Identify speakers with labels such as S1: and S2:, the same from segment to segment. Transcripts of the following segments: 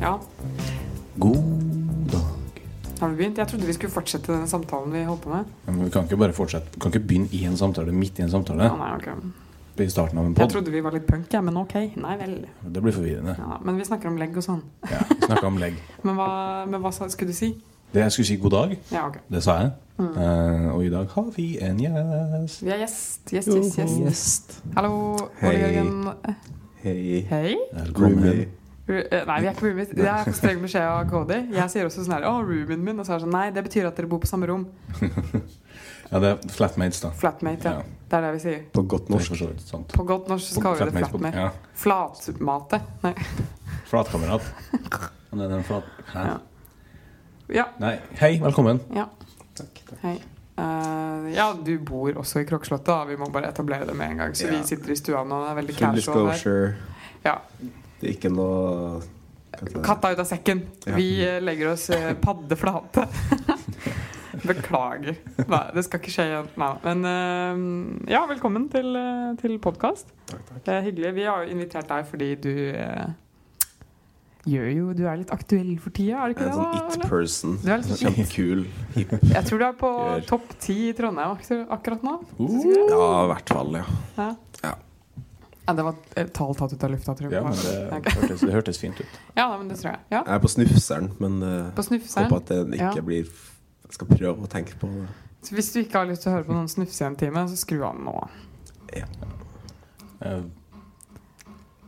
S1: Ja.
S2: God dag.
S1: Har vi begynt? Jeg trodde vi skulle fortsette den samtalen vi holdt på med.
S2: Ja, Men vi kan ikke bare fortsette. Vi kan ikke begynne i en samtale midt i en samtale.
S1: Å, nei, ok.
S2: I starten av en
S1: Jeg
S2: pod.
S1: trodde vi var litt punk, ja, men ok. Nei vel.
S2: Det blir forvirrende.
S1: Ja, men vi snakker om legg og sånn.
S2: Ja, Snakka om legg.
S1: Men hva, men hva sa- skulle du si?
S2: Det jeg skulle si god dag,
S1: Ja, ok.
S2: det sa jeg.
S1: Mm.
S2: Eh, og i dag har vi en gjest.
S1: Vi er gjest. Gjest, gjest, gjest. Hallo, Ole
S3: Hei.
S1: Jørgen.
S3: Hei.
S1: Hei.
S2: Velkommen.
S1: Ru- eh, Nei, vi er ikke roomies. Jeg har fått streng beskjed av Cody. Jeg sier også sånn her Å, roomien min. Og så er det sånn Nei, det betyr at dere bor på samme rom.
S2: Ja, det er flatmates, da.
S1: Flatmate, ja.
S2: Ja.
S1: Det er det vi sier.
S3: På godt
S2: Det er for
S3: norsk.
S2: så vidt sant.
S1: På godt norsk så kaller vi det
S2: Flatmates på-
S1: flatmate. Flatmate.
S2: Ja.
S1: Nei.
S2: Flatkamerat. Men det er en flat... Hæ?
S1: Ja. Ja.
S2: Nei. Hei, velkommen.
S1: Ja.
S3: Takk, takk.
S1: Hei. Eh, ja, du bor også i Krokslottet. da. Vi må bare etablere det med en gang. Så
S3: Ja.
S1: vi sitter i stua nå. Det er veldig
S3: Full
S1: casual her.
S3: disclosure.
S1: Ja.
S3: Det er ikke noe hva heter det?
S1: Katta ut av sekken.
S3: Ja.
S1: Vi eh, legger oss eh, paddeflate. Beklager. Nei, det skal ikke skje igjen. Nei. Men eh, ja, velkommen til, eh, til podkast.
S3: Takk, takk.
S1: Det er hyggelig. Vi har jo invitert deg fordi du eh, gjør jo Du er litt aktuell for tida, er du
S3: Jeg
S1: ikke
S3: er en
S1: det?
S3: sånn
S1: da, eller?
S3: it-person.
S1: Du er litt sånn
S3: Kjempekul.
S1: Jeg tror du er på
S3: Gjør.
S1: topp ti i Trondheim aktu- akkurat nå.
S2: Uh,
S3: Ja, i hvert fall, ja.
S1: Ja.
S3: Ja.
S1: Ja, det var et tall tatt ut av lufta, tror jeg.
S2: ja, men det
S1: Ok.
S2: hørtes, det hørtes fint ut.
S1: ja nei, men det tror jeg. Ja.
S3: Jeg er på snufseren, men eh,
S1: På snufseren.
S3: håper at den ikke
S1: Ja.
S3: blir Jeg skal prøve å tenke på det.
S1: Så hvis du ikke har lyst til å høre på noen snufse i en time, så skru av nå.
S2: Eh,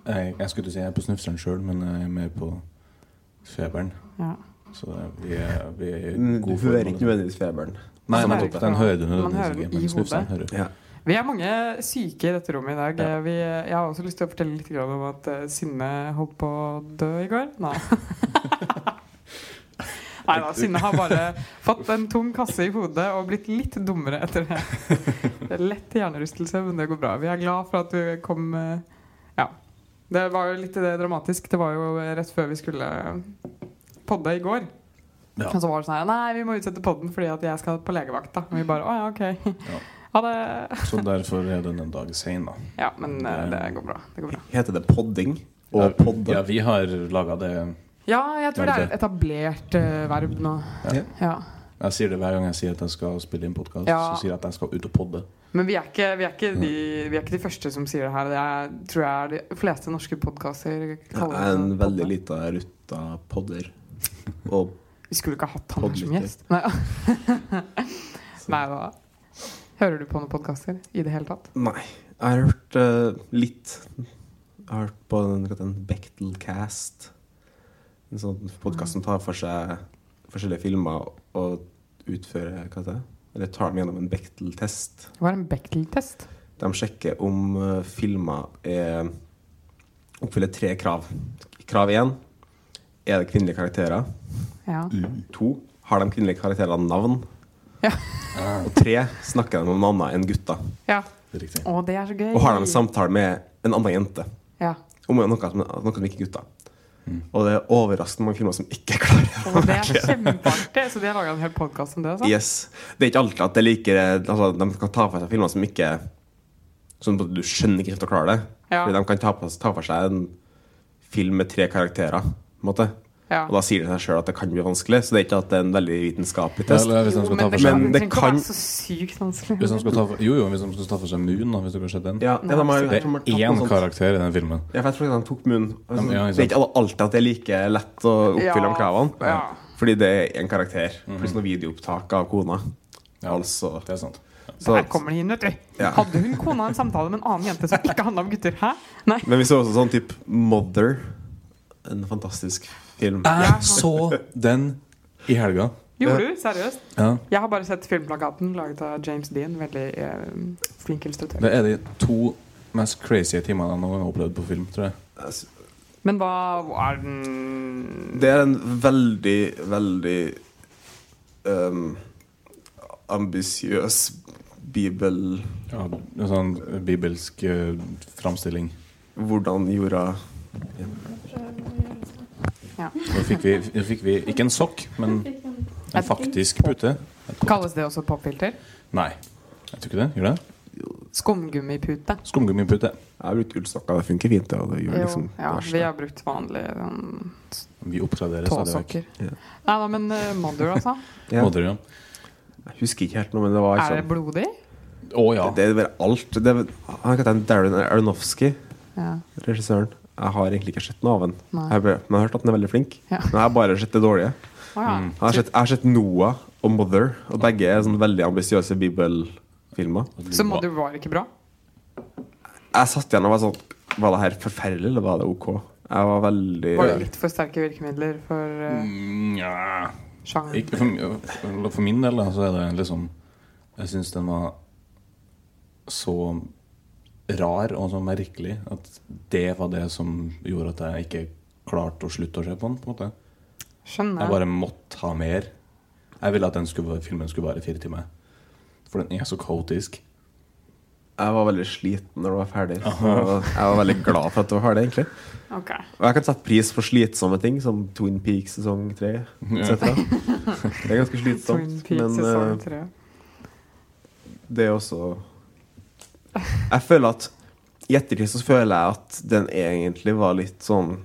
S2: Jeg, jeg skulle til å si jeg er på snufseren sjøl, men jeg er mer på feberen.
S1: Ja.
S2: Så det- vi er, vi er i
S3: Men Mm, Du
S2: god form.
S3: hører ikke nødvendigvis feberen.
S2: Nei,
S1: Altså,
S2: nettopp.
S1: det er ikke
S2: Den
S1: noe-
S2: hører du
S1: man hører
S2: nødvendigvis
S1: den
S2: ikke,
S1: i
S2: men snufseren
S1: hodet.
S2: hører du.
S3: Ja.
S1: Vi er mange syke i dette rommet i dag.
S2: Ja.
S1: Vi, jeg har også lyst til å fortelle litt grann om at eh, Synne holdt på å dø i går. Nei. Nei da, Synne har bare fått en tung kasse i hodet og blitt litt dummere etter det. det er lett hjernerystelse, men det går bra. Vi er glad for at du kom eh, Ja. Det var jo litt eh, dramatisk. Det var jo eh, rett før vi skulle eh, podde i går.
S2: Ja.
S1: Og så var det sånn her Nei, vi må utsette podden fordi at jeg skal på legevakt, da. Og vi bare Å ja, ok.
S2: Ja.
S1: Ha det.
S2: Så derfor er den en dag sein, da.
S1: Ja, men eh,
S2: Det-
S1: det går bra. Det går bra.
S3: Heter det podding?
S2: Ja,
S3: Og podde?
S2: Ja, vi har laga det
S1: Ja, jeg tror det er
S2: Verb.
S1: et etablert eh, verb nå.
S2: Ja.
S1: Ja.
S2: Jeg sier det hver gang jeg sier at jeg skal spille inn podkast.
S1: Ja.
S2: Så sier jeg at jeg skal ut og podde.
S1: Men vi er, ikke, vi, er ikke de, vi er ikke de første som sier det her. Det er, tror jeg er de fleste norske podkaster
S3: Jeg
S1: kaller
S3: er en
S1: det podde.
S3: veldig lita rutta podder. Og
S1: Vi skulle ikke ha hatt han her som
S3: Podlytter.
S1: gjest. Nei. Nei da. Hører du på noen podkaster i det hele tatt?
S3: Nei. Jeg har hørt eh, litt. Jeg har hørt på en, en Bechtelcast. En sånn podkast som tar for seg forskjellige filmer og utfører hva heter det? Eller tar dem gjennom en Bechtel-test.
S1: Det var en Bechdel-test.
S3: De sjekker om eh, filmer er, oppfyller tre krav. Krav én er det kvinnelige karakterer.
S1: Ja.
S3: To har de kvinnelige karakterene navn.
S1: Ja.
S2: Ah,
S3: Og tre snakker de om noe annet enn gutter.
S1: ja.
S2: det er riktig.
S1: Å, det er så gøy.
S3: Og har de samtale med en annen jente.
S1: Ja.
S3: om noe som, noe som ikke er gutta. Og det er overraskende mange filmer som ikke klarer
S1: Og det er kjempeartig. Så de har laga en hel podkast om det? altså. Sant?
S3: det. Yes. Det er ikke alltid at det er like altså, De kan ta for seg filmer som ikke Som du skjønner ikke kommer til å klare det.
S1: Ja.
S3: Fordi de kan ta, på, ta for seg en film med tre karakterer. På en måte.
S1: Ja.
S3: Og da sier det seg sjøl at det kan bli vanskelig, så det er ikke at det er en veldig vitenskapelig
S2: Ja,
S3: test.
S2: eller hvis
S1: Jo,
S2: de skal
S1: men
S2: ta
S1: det
S2: for seg
S1: kan,
S3: Men
S1: det
S3: det
S1: trenger ikke
S3: kan-
S1: være så sykt vanskelig.
S2: hvis de skal ta for, Jo, jo, hvis de skal ta for seg Moon, da, hvis dere har sett den.
S3: Ja, sånn. ja, de har,
S2: Det er én karakter i den filmen.
S3: Ja, for jeg tror ikke de tok munnen. Altså,
S2: Ja, ja, ikke
S3: det er ikke alle- alltid at det er like lett å oppfylle
S1: Ja,
S3: de kravene.
S1: ja.
S3: Fordi det er én karakter,
S2: Mhm.
S3: pluss noe videoopptak av kona. Altså
S2: Det er sant.
S3: så,
S1: Her kommer det inn, vet du.
S3: Ja.
S1: Hadde hun kona en samtale med en annen jente som ikke handla om gutter? Hæ? Nei.
S3: Men vi så også sånn type Mother. En fantastisk film.
S1: Ja.
S2: Jeg så den i helga.
S1: Gjorde du? Seriøst?
S2: Ja.
S1: Jeg har bare sett filmplakaten laget av James Dean. Veldig eh, flink illustratør.
S2: Det er de to mest crazy timene jeg noen gang har opplevd på film, tror jeg.
S1: Men hva er den
S3: Det er en veldig, veldig um, ambisiøs bibel
S2: Ja, en sånn bibelsk eh, uh, framstilling.
S3: Hvordan jorda
S1: Ja.
S2: Nå fikk vi, nå fikk vi ikke en sokk, men en faktisk pute.
S1: Kalles det også popfilter?
S2: Nei. Jeg tror ikke det. Gjør det?
S1: Skumgummipute.
S2: Skumgummipute.
S3: Jeg har brukt ullsokker, det funker fint. det, Og det gjør
S1: Jo,
S3: liksom
S1: ja,
S3: det verste.
S1: vi har brukt vanlige sånn,
S2: Vi oppgraderer stadig vekk.
S1: tåsokker.
S3: Ja.
S1: Nei da, men uh, Mother, altså.
S3: Ja.
S2: Odder, ja.
S3: Jeg husker ikke helt noe, men det var
S1: Er det
S3: liksom
S1: blodig?
S2: Å ja.
S3: Det er bare alt. Det er, han heter Darren Aronofsky,
S1: Ja.
S3: regissøren. Jeg har egentlig ikke sett noe av han.
S1: Nei.
S3: Jeg har bare- Men jeg har hørt at han er veldig flink.
S1: Ja.
S3: Men jeg har bare sett det dårlige.
S1: Å ja.
S2: Mm.
S3: Jeg har sett, jeg har sett Noah og Mother, og begge er sånn veldig ambisiøse bibelfilmer.
S1: Så Mother var ikke bra?
S3: Jeg satt igjen og var sånn Var det her forferdelig, eller var det ok? Jeg var veldig
S1: Var det litt for sterke virkemidler for uh,
S2: Mm, ja.
S1: sjangeren?
S2: Ikke for, for- for min del da, så er det liksom Jeg syns den var så rar og så merkelig at det var det som gjorde at jeg ikke klarte å slutte å se på den. på en måte Jeg
S1: Skjønner.
S2: bare måtte ha mer. Jeg ville at den skulle, filmen skulle vare i fire timer. For den er så kaotisk.
S3: Jeg var veldig sliten når det var ferdig. Så jeg var veldig glad for at det var ferdig, egentlig.
S1: Ok.
S3: Og jeg kan sette pris for slitsomme ting, som Twin Peaks sesong tre. et cetera. Det er ganske
S1: Twin
S3: slitsomt,
S1: Peaks
S3: men
S1: sesong
S3: eh,
S1: tre.
S3: det er også Jeg føler at I ettertid så føler jeg at den egentlig var litt sånn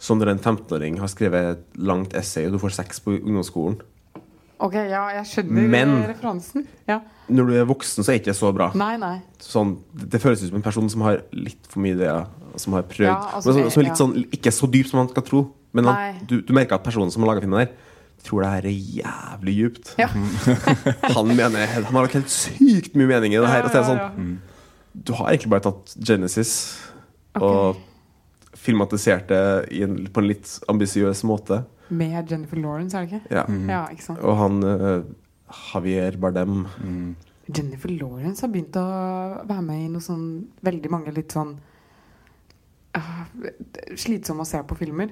S3: som når en 15-åring har skrevet et langt essay, og du får seks på ungdomsskolen.
S1: Ok, ja, jeg skjønner
S3: Men-
S1: eh, referansen. Ja.
S3: Når du er voksen, så er ikke det så bra.
S1: Nei, nei.
S3: sånn, det det føles ut som en person som har litt for mye ideer, som har prøvd.
S1: Ja, altså,
S3: men som, som er litt
S1: ja.
S3: sånn, ikke så dyp som man skal tro. Men han,
S1: Nei.
S3: du, du merker at personen som har laga filmen der, tror det her er jævlig djupt.
S1: Ja.
S3: han mener Han har nok helt sykt mye mening i det her. Og så er det
S1: Ja, ja,
S3: sånn, du har egentlig bare tatt Genesis og filmatisert det i en, på en litt ambisiøs måte.
S1: ja. Med Jennifer Lawrence, er det ikke?
S3: Ja.
S1: Ja, ikke sant.
S3: Mm. Og han eh, Javier Bardem
S1: Jennifer Lawrence har begynt å være med i noe sånn veldig mange litt sånn ah, slitsomme å se på filmer.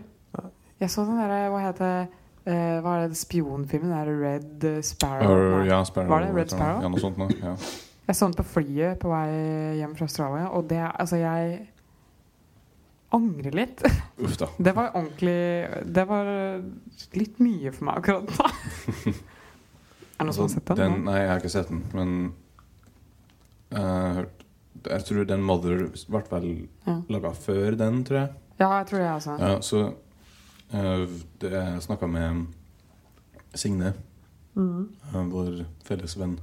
S1: Jeg så den derre Hva heter eh, Hva er det spionfilmen? Den der Red eh, Sparrow?
S2: Or,
S1: Nei.
S2: ja, Sparrow,
S1: Var det Red
S2: et eller annet.
S1: Sparrow?
S2: Ja, noe sånt noe. Ja.
S1: Jeg så den på flyet på vei hjem fra Australia, og det Altså, jeg angrer litt.
S2: Uff da.
S1: Det var ordentlig Det var eh, litt mye for meg akkurat da. Er det noen som har sett den?
S2: Den, nei, jeg har ikke sett den, men eh, hørt- Jeg tror den Mother ble vel
S1: Ja.
S2: laga før den, tror jeg.
S1: Ja, jeg tror det, altså.
S2: Ja, så eh, det, jeg snakka med eh, Signe,
S1: Mm.
S2: eh, vår felles venn,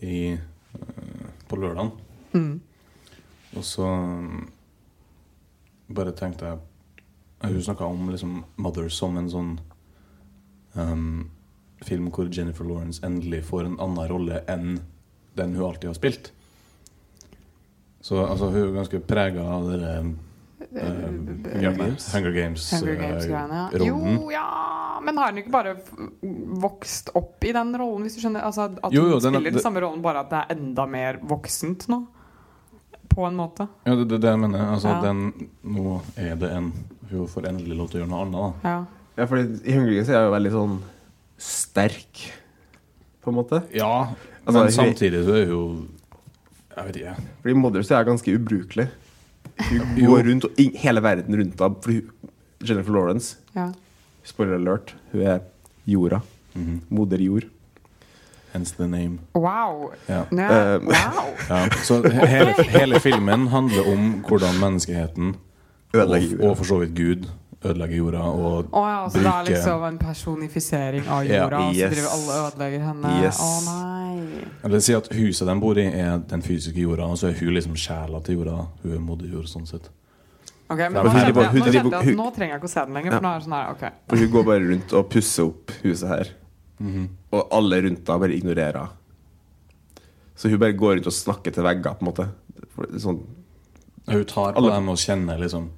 S2: i, eh, på lørdagen.
S1: Mm.
S2: Og så um, bare tenkte jeg eh, Hun snakka om liksom Mother som en sånn um, film hvor Jennifer Lawrence endelig får en annen rolle enn den hun alltid har spilt. Så altså, hun er ganske prega av det der eh,
S1: Eh,
S2: greiene.
S3: Games?
S2: Hunger Games.
S1: Hunger
S2: eh,
S1: Games-greiene. ja.
S2: rollen.
S1: Jo, ja Men har hun ikke bare f- vokst opp i den rollen, hvis du skjønner? Altså, at
S2: Jo, jo,
S1: hun
S2: den
S1: spiller
S2: er-
S1: den
S2: det-
S1: samme rollen, bare at det er enda mer voksent nå? På en måte.
S2: Ja, det er det, jeg mener. Altså,
S1: Ja.
S2: den, nå er det en Hun får endelig lov til å gjøre noe annet, da.
S1: Ja.
S3: Ja, fordi i Hunger Games er jeg jo veldig sånn sterk, på en måte.
S2: Ja,
S3: Altså,
S2: men
S3: hun-
S2: samtidig så er hun jo Jeg vet ikke.
S3: Fordi Mother så er jeg ganske ubrukelig. Hun
S2: Jo.
S3: går rundt, og ing- hele verden rundt henne. Fordi hun- Jennifer Lawrence,
S1: ja.
S3: spoiler alert, hun er jorda.
S2: Mhm.
S3: Moder jord.
S2: Hence the name.
S1: Wow!
S2: Ja.
S1: Nå-
S3: Eh,
S1: wow.
S2: Ja, så he- hele, hele filmen handler om hvordan menneskeheten
S3: Ødelegger
S2: og,
S3: jorda.
S2: og for så vidt Gud ødelegger jorda. Og
S1: Å ja, så det er
S2: bruke-
S1: liksom en personifisering av
S2: Ja,
S1: jorda, og så
S3: yes.
S1: driver alle og ødelegger henne? Å
S3: Yes.
S1: nei!
S2: Eller si at huset de bor i, er den fysiske jorda, og så er hun liksom sjela til jorda. Hun er moder jord, sånn sett.
S1: Ok, men
S2: Ja,
S1: nå
S2: men hun
S1: kjente
S2: driver-
S1: jeg,
S3: hun
S1: nå kjente
S3: driver-
S1: jeg at
S3: hun-
S1: nå trenger jeg ikke å se den lenger,
S3: Ja.
S1: for nå er det sånn her, ok.
S3: For hun går bare rundt og pusser opp huset her. Og alle rundt henne bare ignorerer henne. Så hun bare går rundt og snakker til vegger, på en måte. For det er Sånn,
S2: Hun tar på
S3: Alle-
S2: dem og kjenner liksom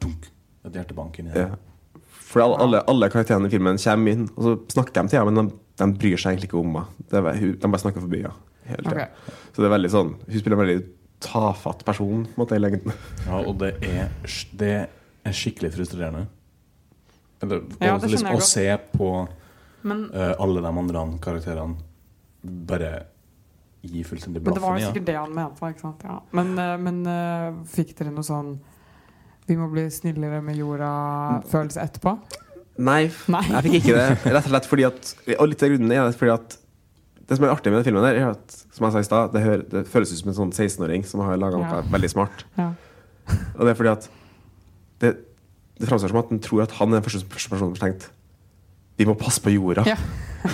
S2: dunk, et hjertebank inni
S3: ja.
S2: der.
S3: For alle, alle, alle karakterene i filmen kommer inn, og så snakker de til henne, men de, de bryr seg egentlig ikke om henne. Det er bare- hun- De bare snakker forbi henne. hele tiden.
S1: Ok.
S3: Så det er veldig sånn Hun spiller en veldig tafatt person på en måte, i lengden.
S2: Ja, og det er, sj- det er skikkelig frustrerende. Eller,
S1: Ja,
S2: og
S1: det skjønner
S2: liksom,
S1: jeg
S2: å se på
S1: Men,
S2: eh, alle de andre karakterene bare gi fullstendig
S1: men det var
S2: blaffen i
S1: jo
S2: ja.
S1: sikkert det han mente, ikke sant? Ja. Men, eh, men eh, fikk dere noe sånn Vi må bli snillere med jorda-følelse etterpå?
S3: Nei,
S1: Nei.
S3: jeg fikk ikke det. Rett og slett fordi at Og litt av grunnen er at fordi at det som er artig med den filmen, der er at som jeg sa i stad, det, hø- det føles ut som en sånn 16-åring som har laga
S1: Ja.
S3: noe veldig smart.
S1: Ja.
S3: Og det er fordi at det, det framstår som at han tror at han er den første, første personen som har tenkt Vi må passe på jorda.
S1: Ja.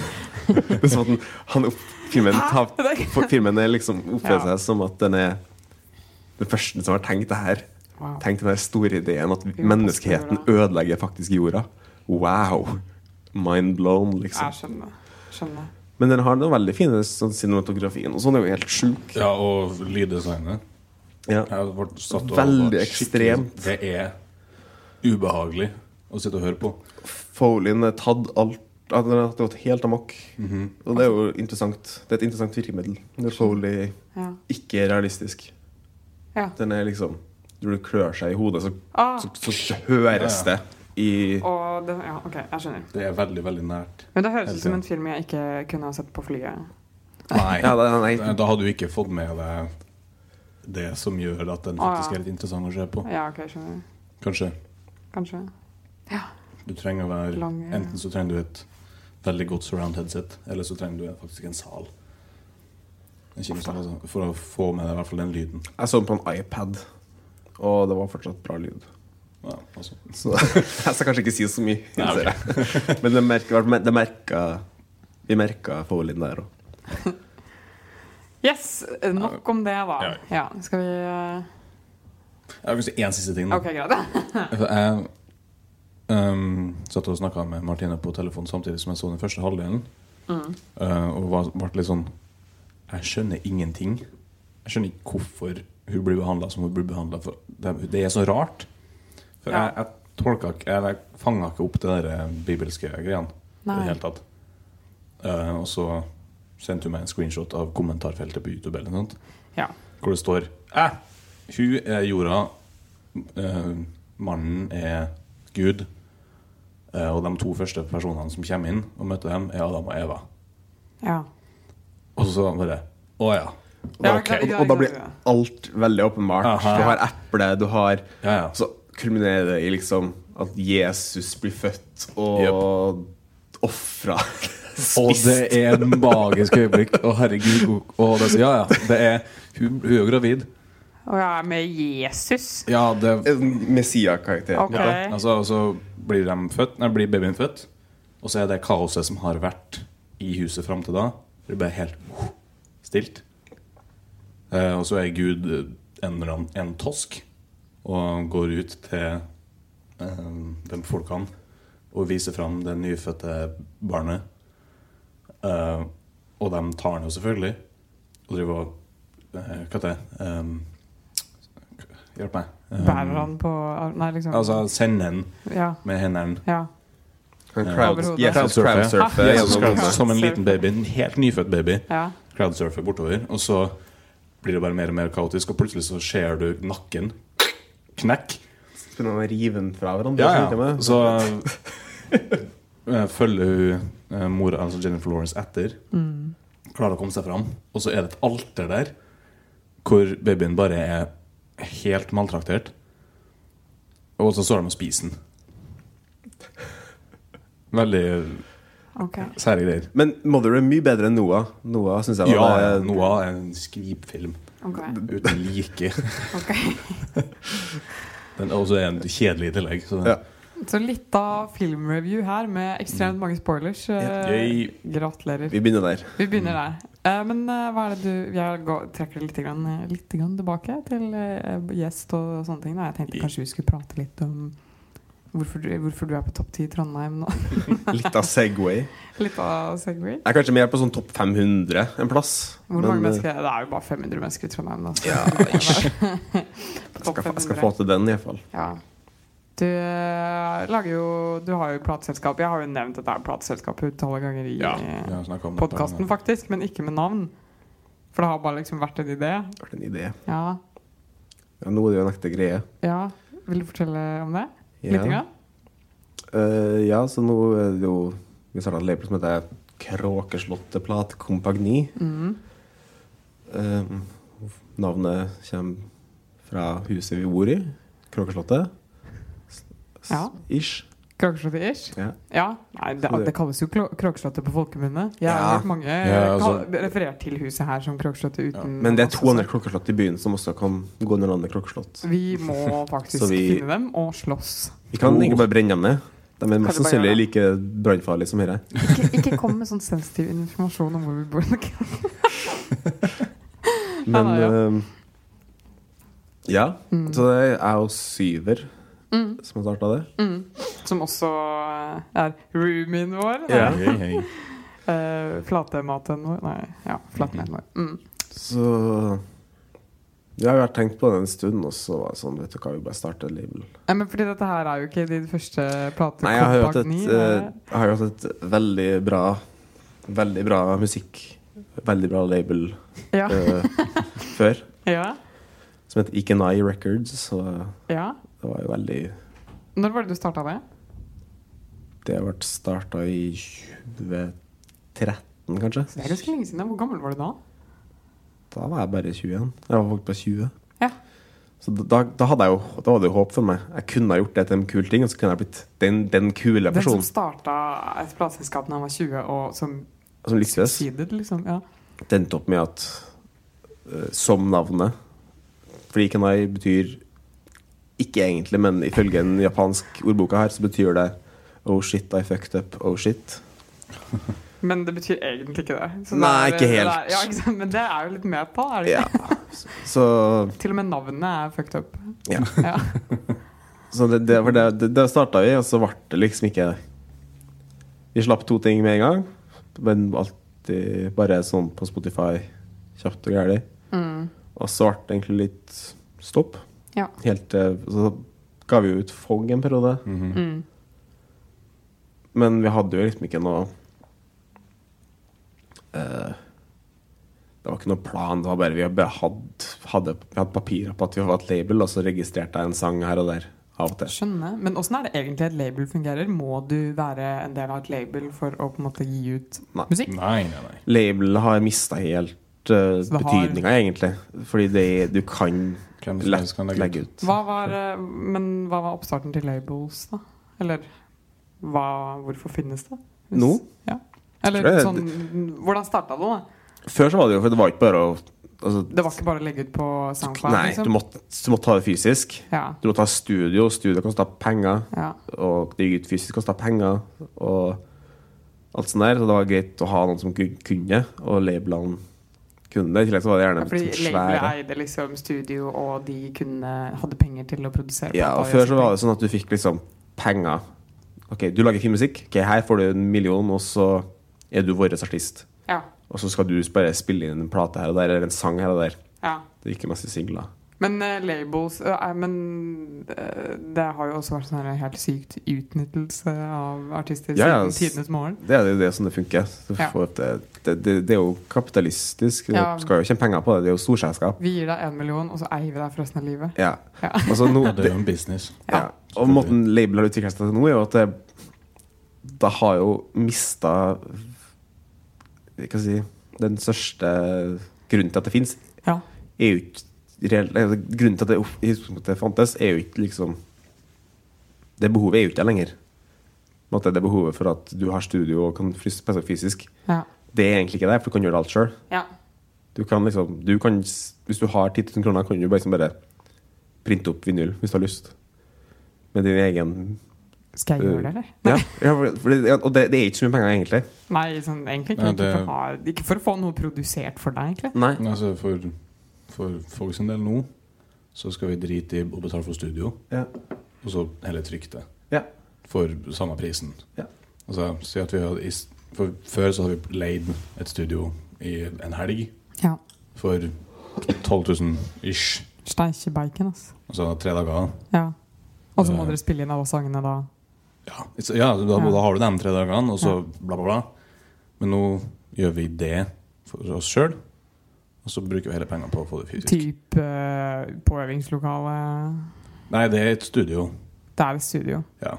S3: Det er som at han, han opp, filmen, tar,
S1: Det-
S3: for, filmen er liksom oppfører
S1: Ja.
S3: seg som at den er den første som har tenkt det her.
S1: Wow.
S3: Tenk den der store ideen at
S1: passe på
S3: menneskeheten
S1: jorda.
S3: ødelegger faktisk jorda. Wow! Mind blown, liksom.
S1: Jeg skjønner. skjønner.
S3: Men den har noen veldig fine sånn, cinematografien. Og sånn er jo helt sjuk.
S2: Ja, og lyddesignet.
S3: Ja.
S2: Jeg har vært satt og
S3: Veldig
S2: vært skikkelig-
S3: ekstremt.
S2: Det er ubehagelig å sitte og høre på.
S3: Folien er tatt alt at Den har gått helt amok.
S2: Mhm.
S3: Og det er jo interessant. Det er et interessant virkemiddel. Når Foley
S1: Ja.
S3: ikke er realistisk.
S1: Ja.
S3: Den er liksom Når du klør seg i hodet, så,
S1: Ah,
S3: så, så høres
S2: Ja,
S3: det i
S1: og det, ja, ok, jeg skjønner.
S2: Det er veldig, veldig nært.
S1: Men det høres
S2: Helt
S1: ut som
S2: enig.
S1: en film jeg ikke kunne ha sett på flyet.
S2: Nei. Eh,
S3: Ja, det- nei.
S2: Da hadde du ikke fått med deg det som gjør at den faktisk er litt interessant å se på.
S1: Ja, ok, skjønner.
S2: Kanskje.
S1: Kanskje.
S2: Du trenger å være
S1: Lang, ja.
S2: Enten så trenger du et veldig godt surround headset, eller så trenger du faktisk en sal. En kinosal, altså. For å få med deg i hvert fall den lyden.
S3: Jeg så den på en iPad, og det var fortsatt bra lyd.
S2: Ja, altså.
S3: Så jeg skal kanskje ikke si så mye.
S2: Nei, ok.
S3: ser jeg. Men det merka, det merka Vi merka Folien der òg.
S1: Yes! Nok om det, da.
S2: Ja.
S1: Ja, skal vi eh,
S2: Jeg vil si én siste ting. da.
S1: Ok, greit.
S2: For Altså, Jeg ehm, satt og snakka med Martine på telefon samtidig som jeg så den første halvdelen.
S1: Mm.
S2: Eh, og var, ble litt sånn Jeg skjønner ingenting. Jeg skjønner ikke hvorfor hun blir behandla som hun blir behandla. Det, det er så rart. For
S1: Ja.
S2: jeg, jeg tolka ikke Eller jeg fanga ikke opp det der eh, bibelske greiene i
S1: Nei.
S2: det hele tatt. Eh, og så sendte hun meg en screenshot av kommentarfeltet på YouTube. eller noe sånt
S1: Ja.
S2: hvor det står eh, Hun er jorda, eh, mannen er Gud, eh, og de to første personene som kommer inn og møter dem, er Adam og Eva.
S1: ja.
S2: Og så bare Å ja.
S3: Og, da-
S1: Ja, klart,
S3: og,
S1: ja,
S3: og da
S1: ja,
S3: blir
S1: ja.
S3: alt veldig åpenbart.
S2: Aha.
S3: Du har eple, du har
S2: Ja, ja.
S3: Så kulminerer det i liksom at Jesus blir født og ofra.
S2: Og det er et magisk øyeblikk. Å, herregud. hvor- Og det, ja, ja. Det er, hun, hun er jo gravid. Eh,
S1: Og jeg er med Jesus.
S2: Ja, det
S3: En Messia-karakter.
S1: Ok.
S2: ja, altså, Og så blir, de født, nei, blir babyen født, og så er det kaoset som har vært i huset fram til da. Det blir bare helt stilt. Eh, og så er Gud eh, en, eller annen- en tosk og går ut til eh, de folkene og viser fram det nyfødte barnet. Eh, og de tar den jo selvfølgelig og driver og eh, Hva heter det? Eh, hjelp meg. Eh,
S1: Bærer han på Nei, liksom.
S2: Altså sende den
S1: Ja.
S2: med hendene.
S1: ja.
S3: Han
S2: Ja.
S3: crowd,
S1: Overhodet.
S3: Jesus
S2: Crowdsurfer.
S3: crowdsurfer.
S1: Ja,
S2: Jesus
S1: Jesus
S3: gjennom-
S1: crowdsurfer.
S2: Christ, Som en liten baby, en helt nyfødt baby.
S1: ja.
S2: Crowdsurfer bortover. Og så blir det bare mer og mer kaotisk, og plutselig så ser du nakken knekk.
S3: Begynner å rive den fra hverandre.
S2: Ja,
S3: tenker
S2: ja.
S3: jeg meg.
S2: Så eh, følger hun eh, mora, altså Jennifer Lawrence, etter. Mm. Klarer å komme seg fram. Og så er det et alter der hvor babyen bare er helt maltraktert. Og så står de og spiser den. Veldig
S1: Ok.
S2: sære greier.
S3: Men Mother er mye bedre enn Noah. Noah synes jeg var
S2: Ja,
S3: det-
S2: Noah er en skvipfilm
S1: Ok.
S2: uten like.
S1: ok.
S2: Den er også en kjedelig i tillegg. Så den,
S3: Ja.
S1: Så litt av filmreview her med ekstremt mange spoilers. Eh,
S2: Yay.
S1: gratulerer.
S3: Vi begynner der.
S1: Vi begynner der. Eh, men eh, hva er det du Jeg går, trekker det litt, grann, eh, litt grann tilbake til eh, gjest og sånne ting. Da. Jeg tenkte kanskje vi skulle prate litt om hvorfor du, hvorfor du er på topp ti i Trondheim nå.
S3: Litt av Segway.
S1: Litt av Segway.
S3: Jeg er kanskje mer på sånn topp 500 en plass.
S1: Hvor mange
S3: men, eh,
S1: mennesker er det? Det er jo bare 500 mennesker i Trondheim. Da. så
S3: Ja,
S1: det må være på
S3: eh, skal,
S1: topp
S3: få- jeg skal
S1: 500.
S3: få til den, i hvert fall
S1: Ja. Du eh, lager jo Du har jo plateselskap. Jeg har jo nevnt at det er plateselskap utallige ganger i
S2: ja,
S1: eh,
S2: vi har snakket om det et par
S1: podkasten,
S2: ganger.
S1: faktisk, men ikke med navn. For det har bare liksom vært en idé.
S3: Det har vært en idé.
S1: Ja.
S3: Ja, nå er det jo en ekte greie.
S1: ja. Vil du fortelle om det?
S3: Ja.
S1: Lite grann?
S3: Eh, ja, så nå er det jo Vi starta et label som heter Kråkeslottet Platkompagni.
S1: Mm.
S3: Eh, navnet kommer fra huset vi bor i, Kråkeslottet.
S1: Ja.
S3: Ish.
S1: Kråkeslottet-ish?
S3: Ja.
S1: Ja. Nei, det, det kalles jo kro- Kråkeslottet på folkemunne. Jeg har
S3: Ja.
S1: hørt mange
S2: Ja, altså-
S1: kall- referert til huset her som Kråkeslottet uten
S3: Men det er to andre klokkeslott i byen som også kan gå under navnet klokkeslott.
S1: Vi må faktisk
S3: Så vi-
S1: finne dem og slåss.
S3: Vi kan
S2: Oh.
S3: egentlig bare brenne dem ned. De er mest
S1: du bare gjøre
S3: sannsynlig like brannfarlige som dette.
S1: Ikke, ikke kom med sånn sensitiv informasjon om hvor vi bor.
S3: Men
S1: Ja, ja.
S3: eh, ja.
S1: Mm.
S3: Så det er jo Syver
S1: Mm,
S3: som har starta det.
S1: mm. Som også eh, er roomien vår. Nei,
S3: Ja.
S2: Hei, hei.
S1: eh, Flatematen vår. Nei, ja, flatematen vår. Mm.
S3: Så Ja, jeg har tenkt på det en stund, og så var det sånn Vet du hva, vi bare starter label.
S1: Nei, men fordi dette her er jo ikke din første plate.
S3: Nei, jeg har jo hatt et,
S1: Kompagni,
S3: eh,
S1: det-
S3: jeg har jo hatt et veldig bra Veldig bra musikk. Veldig bra label
S1: ja.
S3: eh, før,
S1: ja,
S3: som het Ikenai Records. Så det
S1: ja.
S3: var jo veldig
S1: Når var det du starta det?
S3: Det ble starta i 2013, kanskje.
S1: Det er ganske lenge siden. Hvor gammel var du da?
S3: Da var jeg bare 21. Jeg var faktisk bare 20.
S1: Ja.
S3: Så da, da, hadde jeg jo, da var det jo håp for meg. Jeg kunne ha gjort det til en kul ting, og så kunne jeg blitt den, den kule
S1: Den som
S3: personen
S1: starta et plateselskap da han var 20, og som
S3: som lyktes.
S1: succeeded, liksom. Ja.
S3: Det endte opp med at eh, som navnet Fordi Kanai betyr ikke egentlig, men ifølge den japansk ordboka her, så betyr det Oh shit, I fucked up. Oh shit.
S1: Men det betyr egentlig ikke det. Så
S3: Nei,
S1: det er-
S3: ikke helt.
S1: Det er, ja, ikke sant? Men det er jo litt med på, er det
S3: Ja.
S1: ikke?
S3: Så,
S1: Til og med navnet er fucked up.
S3: Ja.
S1: ja.
S3: så det, det, for det, det, det starta vi, og så ble det liksom ikke Vi slapp to ting med en gang, men alltid bare sånn på Spotify, kjapt og gæli.
S1: Mm.
S3: Og så ble det egentlig litt stopp.
S1: Ja.
S3: Helt til Så ga vi jo ut Fogg en periode.
S2: Mhm.
S1: Mm.
S3: Men vi hadde jo liksom ikke noe eh, Det var ikke noe plan. Det var bare, vi bare hadde, hadde, vi hadde papirer på at vi var et label, og så registrerte jeg en sang her og der av og til.
S1: Skjønner. Men åssen er det egentlig et label fungerer? Må du være en del av et label for å på en måte gi ut
S3: Nei.
S1: musikk?
S2: Nei, nei, nei.
S3: Labelet har mista helt uh,
S1: Så det har-
S3: betydninga, egentlig. Fordi det, du kan
S2: Hvem som helst
S3: lett
S2: kan
S3: legge
S2: legge ut.
S3: ut.
S1: Hva var, eh, men hva var oppstarten til labels, da? Eller hva, hvorfor finnes det? Hvis-
S3: Nå?
S1: Ja. Eller
S3: Tror jeg-
S1: sånn Hvordan starta det, da?
S3: Før så var det jo For det var ikke bare å altså,
S1: Det var ikke bare å legge ut på SoundCloud?
S3: Nei,
S1: liksom?
S3: du måtte, du måtte ta det fysisk.
S1: Ja.
S3: Du måtte ha studio. Studio kosta penger.
S1: ja.
S3: Og det gikk ut fysisk kosta penger og alt sånt der. Så det var greit å ha noen som kun- kunne, og labelene kunne det. I tillegg så var det
S1: Ja,
S3: gjerne
S1: fordi
S3: sånn
S1: labelet
S3: svære
S1: eide liksom studio, og de kunne, hadde penger til å produsere.
S3: Ja, og før så var det sånn at du fikk liksom penger. OK, du lager fin musikk. Ok, her får du en million, og så er du vår artist.
S1: Ja,
S3: Og så skal du bare spille inn en plate her og der, eller en sang her og der.
S1: ja.
S3: Det gikk jo mest i singler.
S1: Men eh, labels eh, nei, Men eh, det har jo også vært sånn her helt sykt utnyttelse av artister
S3: Ja,
S1: siden
S3: ja, s-
S1: tidenes morgen.
S3: Det er jo det som det funker. Så
S1: Ja.
S3: for at Det, det, det, det er jo kapitalistisk. Du
S1: Ja.
S3: skal jo tjene penger på det. Det er jo storselskap.
S1: Vi gir deg én million, og så eier vi deg for resten av livet.
S3: Ja.
S1: Ja.
S3: Altså, nå,
S2: Ja, det er jo en business.
S1: Ja.
S3: Ja. Og måten label har utvikla seg til nå, er jo at det, det har jo mista Hva skal jeg si Den største grunnen til at det fins,
S1: Ja.
S3: er jo ikke reell- eller Grunnen til at det opp- i utgangspunktet fantes, er jo ikke liksom Det behovet er jo ikke der lenger. På en måte, Det behovet for at du har studio og kan frys- presse fysisk,
S1: Ja.
S3: det er egentlig ikke der, for du kan gjøre det alt sjøl.
S1: ja.
S3: Du kan liksom, du kan, s- hvis du har 10 000 kroner, kan du bare, liksom bare printe opp vinyl hvis du har lyst. Med din egen
S1: Skal
S2: Øh.
S1: jeg gjøre det, eller?
S3: ja, ja, for- for det, ja, Og det, det er ikke så mye penger, egentlig.
S1: Nei, sånn, egentlig ikke.
S2: Nei, det-
S1: Ikke, for å ha, ikke for å få noe produsert for deg, egentlig.
S3: Nei.
S2: Altså, for, for folk sin del nå, så skal vi drite i å betale for studio,
S3: Ja.
S2: og så heller trykke det.
S3: Ja.
S2: For samme prisen.
S3: Ja.
S2: Altså, si at vi har, i s- for før så hadde vi leid et studio i en helg
S1: Ja.
S2: for 12 000 ish.
S1: Steikje bacon, altså.
S2: Altså tre dager.
S1: Ja. Og så må
S2: Eh.
S1: dere spille inn alle sangene da.
S2: Ja, så- ja da,
S1: Ja.
S2: da har du de tre dagene, og så bla, bla, bla. Men nå gjør vi det for oss sjøl, og så bruker vi hele pengene på å få det fysisk.
S1: Typ eh, på øvingslokale
S2: Nei, det er et studio,
S1: Det er et studio.
S2: Ja.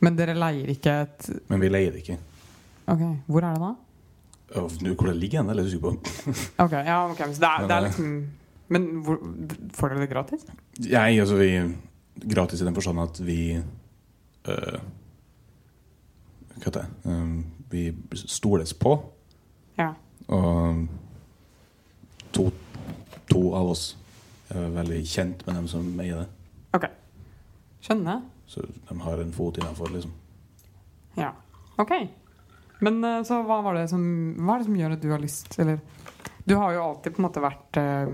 S1: Men dere leier ikke et
S2: men vi leier det ikke.
S1: Ok, hvor er det da?
S2: Øh, nå, Hvor det ligger hen, er jeg litt usikker på.
S1: Ok, ja, ok, men så det er, det er
S2: Nei, nei.
S1: liksom Men hvor, får dere det gratis?
S2: Jeg, altså vi Gratis i den forstand at vi eh, Hva heter det? Um, vi stoles på.
S1: Ja.
S2: Og to, to av oss er veldig kjent med dem som eier det.
S1: Skjønner.
S2: Så de har en fot innafor, liksom.
S1: Ja. Ok. Men eh, så hva var det som Hva er det som gjør at du har lyst, eller Du har jo alltid på en måte vært uh,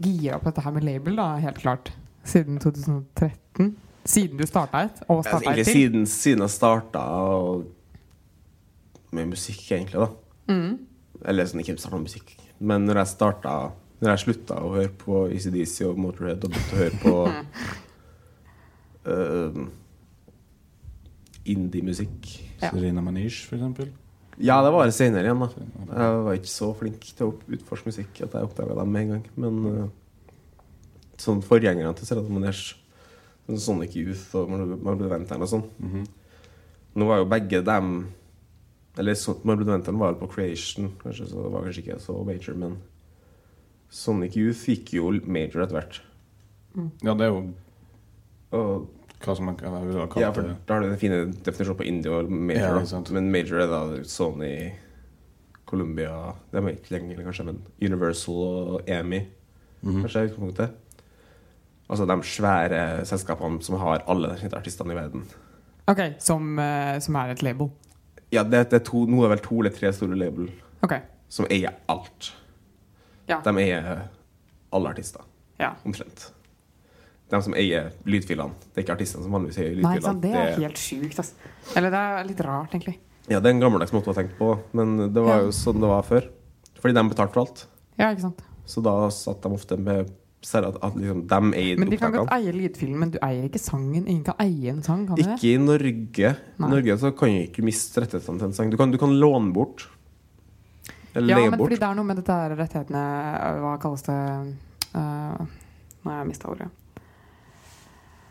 S1: gira på dette her med label, da, helt klart. Siden 2013. Siden du starta et, og
S3: Altså,
S1: starta et
S3: egentlig
S1: til.
S3: siden, siden jeg starta med musikk, egentlig, da.
S1: Mm.
S3: Eller sånn, ikke starta med musikk. Men når jeg starta Når jeg slutta å høre på ECDC og Motorhead og begynte å høre på øhm, Indie-musikk
S1: Ja.
S2: Serena Manish, for eksempel.
S3: Ja, det var seinere igjen, da. Jeg var ikke så flink til å opp- utforske musikk at jeg oppdaga dem med en gang. Men øh, sånn forgjengerne til Serena Manesh, sånn Sonic Youth og Marbledventeren og sånn
S2: Mhm.
S3: Nå var jo begge dem Eller så- Marbledventeren var jo på Creation, kanskje, så det var kanskje ikke så major, men Sonic Youth gikk jo major etter hvert.
S2: Ja, det er jo
S3: Og
S2: hva som man jeg ville ha
S3: ja,
S2: kalt
S3: for
S2: det.
S3: da har du den fine definisjonen på indie og major.
S2: Ja,
S3: da.
S2: ikke sant.
S3: Men major er da Sony, Columbia De er ikke lenger, kanskje, men Universal og EMI.
S2: Mhm.
S3: kanskje, i utgangspunktet. Altså de svære selskapene som har alle de kjente artistene i verden.
S1: Ok, som, eh, som er et label.
S3: Ja, det, det er to, nå er vel to eller tre store label
S1: Ok.
S3: som eier alt.
S1: Ja.
S3: De eier alle artister,
S1: ja.
S3: omtrent. De som eier lydfilene. Det er ikke artistene som vanligvis eier
S1: Nei,
S3: lydfilene.
S1: ikke sant, det er helt sjukt, altså. Eller det er litt rart, egentlig.
S3: ja, det er en gammeldags måte å tenke på, men det var
S1: Ja.
S3: jo sånn det var før. Fordi de betalte for alt.
S1: Ja, ikke sant.
S3: Så da satt de ofte med Ser at, at liksom, de eier
S1: Men de kan
S3: opptakene.
S1: godt eie lydfilmen, men du eier ikke sangen. Ingen kan eie en sang, kan du det?
S3: Ikke i Norge. I
S1: Nei.
S3: Norge så kan du ikke miste rettighetene til en sang. Du kan, du kan låne bort. Eller
S1: Ja,
S3: leie
S1: men
S3: bort.
S1: fordi det er noe med dette her rettighetene øh, Hva kalles det øh, Nei, jeg mista ordet.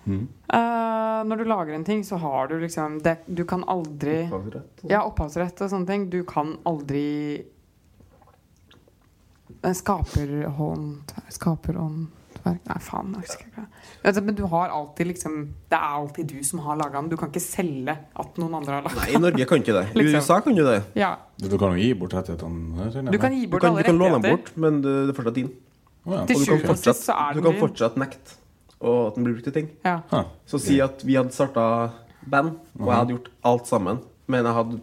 S2: Mhm.
S1: Øh, når du lager en ting, så har du liksom det, Du kan aldri
S3: Opphavsrett.
S1: Ja, opphavsrett og sånne ting. Du kan aldri Eh, Skaperhånd Skaperhåndverk Nei, faen. Jeg husker ikke. Altså, Men du har alltid liksom Det er alltid du som har laga den. Du kan ikke selge at noen andre har laga
S3: Nei, i Norge kan du ikke det. I
S1: Liksom.
S3: USA kan du det.
S1: ja,
S2: Du kan jo gi bort rettighetene. det
S1: Du
S2: regner jeg med.
S1: kan gi
S3: Du
S1: bort
S3: kan, du
S1: alle
S3: kan låne dem
S1: rettigheter.
S3: bort, men det det er fortsatt din.
S2: Å, ja.
S1: Til
S3: Og du kan
S1: sjuende og sist
S3: fortsatt,
S1: så er
S3: du
S1: den
S3: kan
S1: din.
S3: fortsatt nekte og at den blir brukt til ting.
S1: Ja.
S2: Ha.
S3: Så si at vi hadde starta band, og jeg
S2: Mhm.
S3: hadde gjort alt sammen, men jeg hadde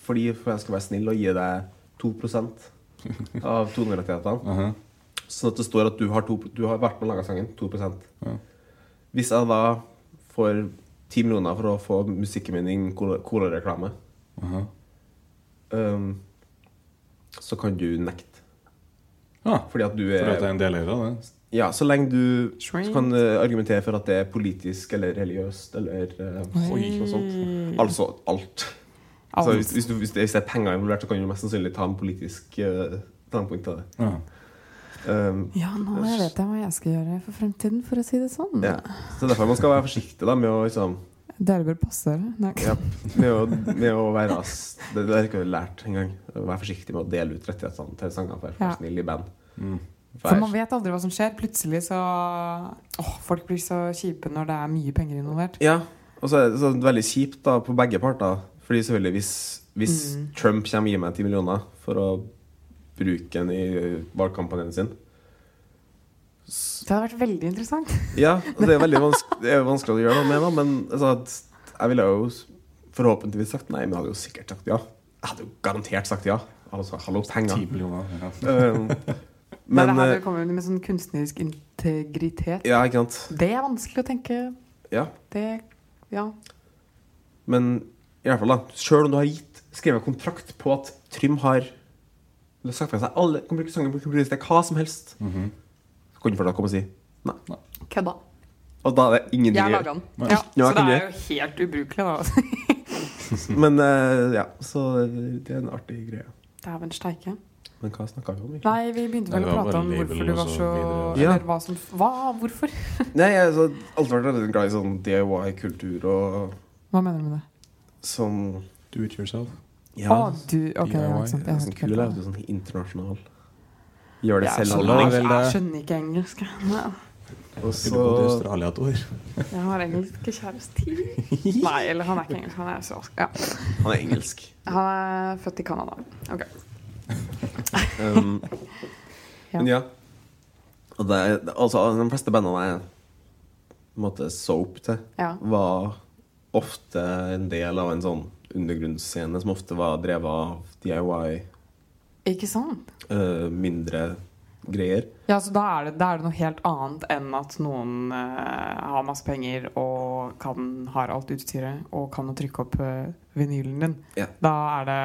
S3: fordi for jeg skal være snill og gi deg 2 av tonerettighetene.
S2: Aha.
S3: Sånn at det står at du har, to, du har vært med og laga sangen. 2
S2: Ja.
S3: Hvis jeg da får 10 millioner for å få musikken min i en cola- Cola-reklame,
S2: Aha.
S3: øhm, så kan du nekte.
S2: Ja.
S3: Fordi at du
S2: For at det
S3: er
S2: er en del eiere, det.
S3: Ja, så lenge du så
S1: Shrink.
S3: kan eh, argumentere for at det er politisk eller religiøst eller eh,
S1: Oi.
S3: noe sånt. Altså alt. Så Altså, hvis, hvis, du, hvis, det, hvis det er penger involvert, så kan du mest sannsynlig ta en politisk eh, standpunkt til det. Um,
S2: Ja.
S3: Øhm,
S1: Ja, nå vet jeg hva jeg skal gjøre for fremtiden, for å si det sånn.
S3: ja. Så derfor man skal være forsiktig da, med å liksom
S1: Dere bør passe dere. Nei.
S3: Ja, med å, med å være ass. Det, det har jeg ikke lært engang. Vær forsiktig med å dele ut rettighetene til sangene. Vær
S1: Ja.
S3: for snill i band.
S2: Mm.
S1: For
S3: Vær,
S1: man vet aldri hva som skjer. Plutselig så Åh, folk blir så kjipe når det er mye penger involvert.
S3: ja, og så er det sånn veldig kjipt da, på begge parter. Fordi selvfølgelig, hvis, hvis
S1: Mm.
S3: Trump kommer og gir meg 10 millioner for å bruke den i eh, valgkampanjen sin s-
S1: Det hadde vært veldig interessant.
S3: Ja, og det er veldig vanskelig, det er vanskelig å gjøre noe med, da, men altså, at jeg ville jo s- forhåpentligvis sagt nei, men jeg hadde jo sikkert sagt ja. Jeg hadde jo garantert sagt ja. Altså, hallo, penger.
S2: 10 millioner. Ja.
S3: Um,
S1: Men, det
S3: men
S1: her
S3: eh,
S1: vil komme med sånn kunstnerisk integritet.
S3: Ja, ikke sant.
S1: Det er vanskelig å tenke.
S3: Ja.
S1: Det Ja.
S3: Men i hvert fall, da. Selv om du har gitt skrevet kontrakt på at Trym har eller sagt fra seg alle kan bruke sanger, kan bruke det, hva som helst,
S2: Mhm.
S3: så kan du fortsatt komme og si nei.
S1: Kødda.
S3: Og da er det ingenting
S1: Jeg
S3: å
S1: laga
S3: gjøre.
S1: den.
S2: Nei.
S1: Ja,
S3: Ja,
S1: så det
S3: kan
S1: er jo helt ubrukelig, da.
S3: Men eh, ja, så det er en artig greie.
S1: Dæven steike.
S3: Men hva snakka vi om? egentlig?
S1: Nei, vi begynte
S2: Nei,
S1: vel
S2: det
S1: å
S2: var
S1: prate
S2: bare
S1: om hvorfor
S2: label
S1: du
S2: og
S1: var
S2: så
S1: så
S2: videre.
S3: Ja.
S1: Eller hva som Hva? Hvorfor?
S3: Nei, jeg har alltid vært veldig glad i sånn DIY-kultur og
S1: Hva mener du med det?
S3: sånn
S2: Do it yourself.
S1: Å,
S3: Ja,
S1: du Ok, ja,
S2: DIY,
S1: ikke sant. Jeg
S3: det er
S1: hørte
S3: sånn
S1: ikke helt
S3: kul jeg
S1: på det.
S3: vet du, sånn internasjonal. Gjør det
S1: Jeg
S3: selv.
S2: skjønner.
S1: skjønner
S2: vel
S1: ikke- jeg
S2: det.
S1: skjønner ikke engelsk. jeg.
S3: Og
S2: Skulle gå til
S3: så
S2: Australia et år.
S1: Jeg har egentlig ikke kjæreste. Nei, eller han er ikke engelsk. Han er australsk. Ja.
S3: Han er engelsk.
S1: Han er født i Canada. Ok.
S3: Um,
S1: Ja.
S3: Men ja. Og det, er- altså, de fleste bandene jeg på en måte, så opp til,
S1: Ja.
S3: var ofte en del av en sånn undergrunnsscene som ofte var drevet av DIY,
S1: Ikke sant?
S3: eh, mindre greier.
S1: Ja, så da er, det, da er det noe helt annet enn at noen eh, har masse penger og kan, har alt utstyret og kan å trykke opp eh, vinylen din.
S3: Ja.
S1: Da er det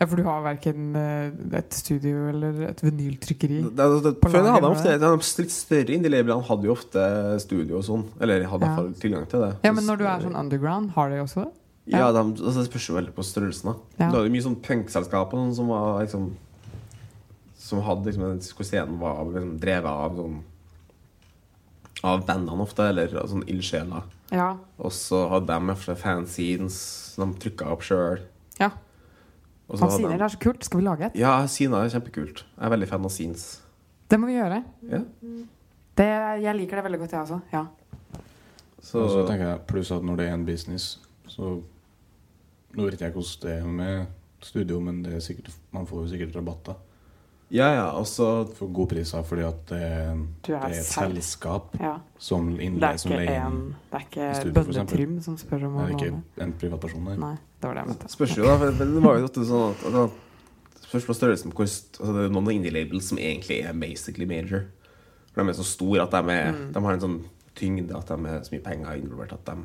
S1: Ja, for du har verken eh, et studio eller et vinyltrykkeri.
S3: Det, det, det,
S1: Mm. På
S3: før det
S1: lager
S3: hadde de
S1: med
S3: ofte De litt større indie-labelene hadde jo ofte studio og sånn. Eller hadde
S1: Ja.
S3: i hvert fall tilgang til det. Eh,
S1: Ja, men når du er sånn underground, har de også det?
S3: Ja, de, altså, Det spørs jo veldig på størrelsen. da
S1: Ja.
S3: Det var jo mye sånn punkselskap og sånn som var liksom Som hadde liksom den hvor scenen var liksom, drevet av sånn Av bandene ofte, eller av sånn ildsjeler.
S1: Ja.
S3: Og så hadde de ofte fanzines som de trykka opp sjøl.
S1: Ja. Fanziner det er så kult. Skal vi lage et?
S3: Ja, Sina er kjempekult. Jeg er veldig fan av Scenes.
S1: Det må vi gjøre.
S3: Ja.
S1: Det, jeg liker det veldig godt, jeg også. Ja.
S3: Så,
S2: Og så tenker jeg Pluss at når det er en business, så Nå vet ikke jeg hvordan det er med studio, men det er sikkert, man får jo sikkert rabatter.
S3: ja, ja, og så
S2: For gode priser fordi at det er,
S1: Du
S2: det
S1: er
S2: er et
S1: selv.
S2: selskap
S1: Ja.
S2: som
S1: Det
S2: innleier
S1: er
S2: som
S1: ikke
S2: leier
S1: en
S2: inn.
S1: Det er ikke
S2: studio, for eksempel.
S1: bøndetrim som spør om å
S2: Det er
S1: låne.
S2: ikke en privatperson der.
S1: Nei, det var det jeg mente.
S3: spørs jo, da. For det det var jo ofte sånn at, at det Spørs på størrelsen på hvor st- altså, Det er jo noen indie-labels som egentlig er basically major. For de er så store at de, er,
S1: Mm.
S3: de har en sånn tyngde at de er så mye penger involvert at de
S1: Mhm.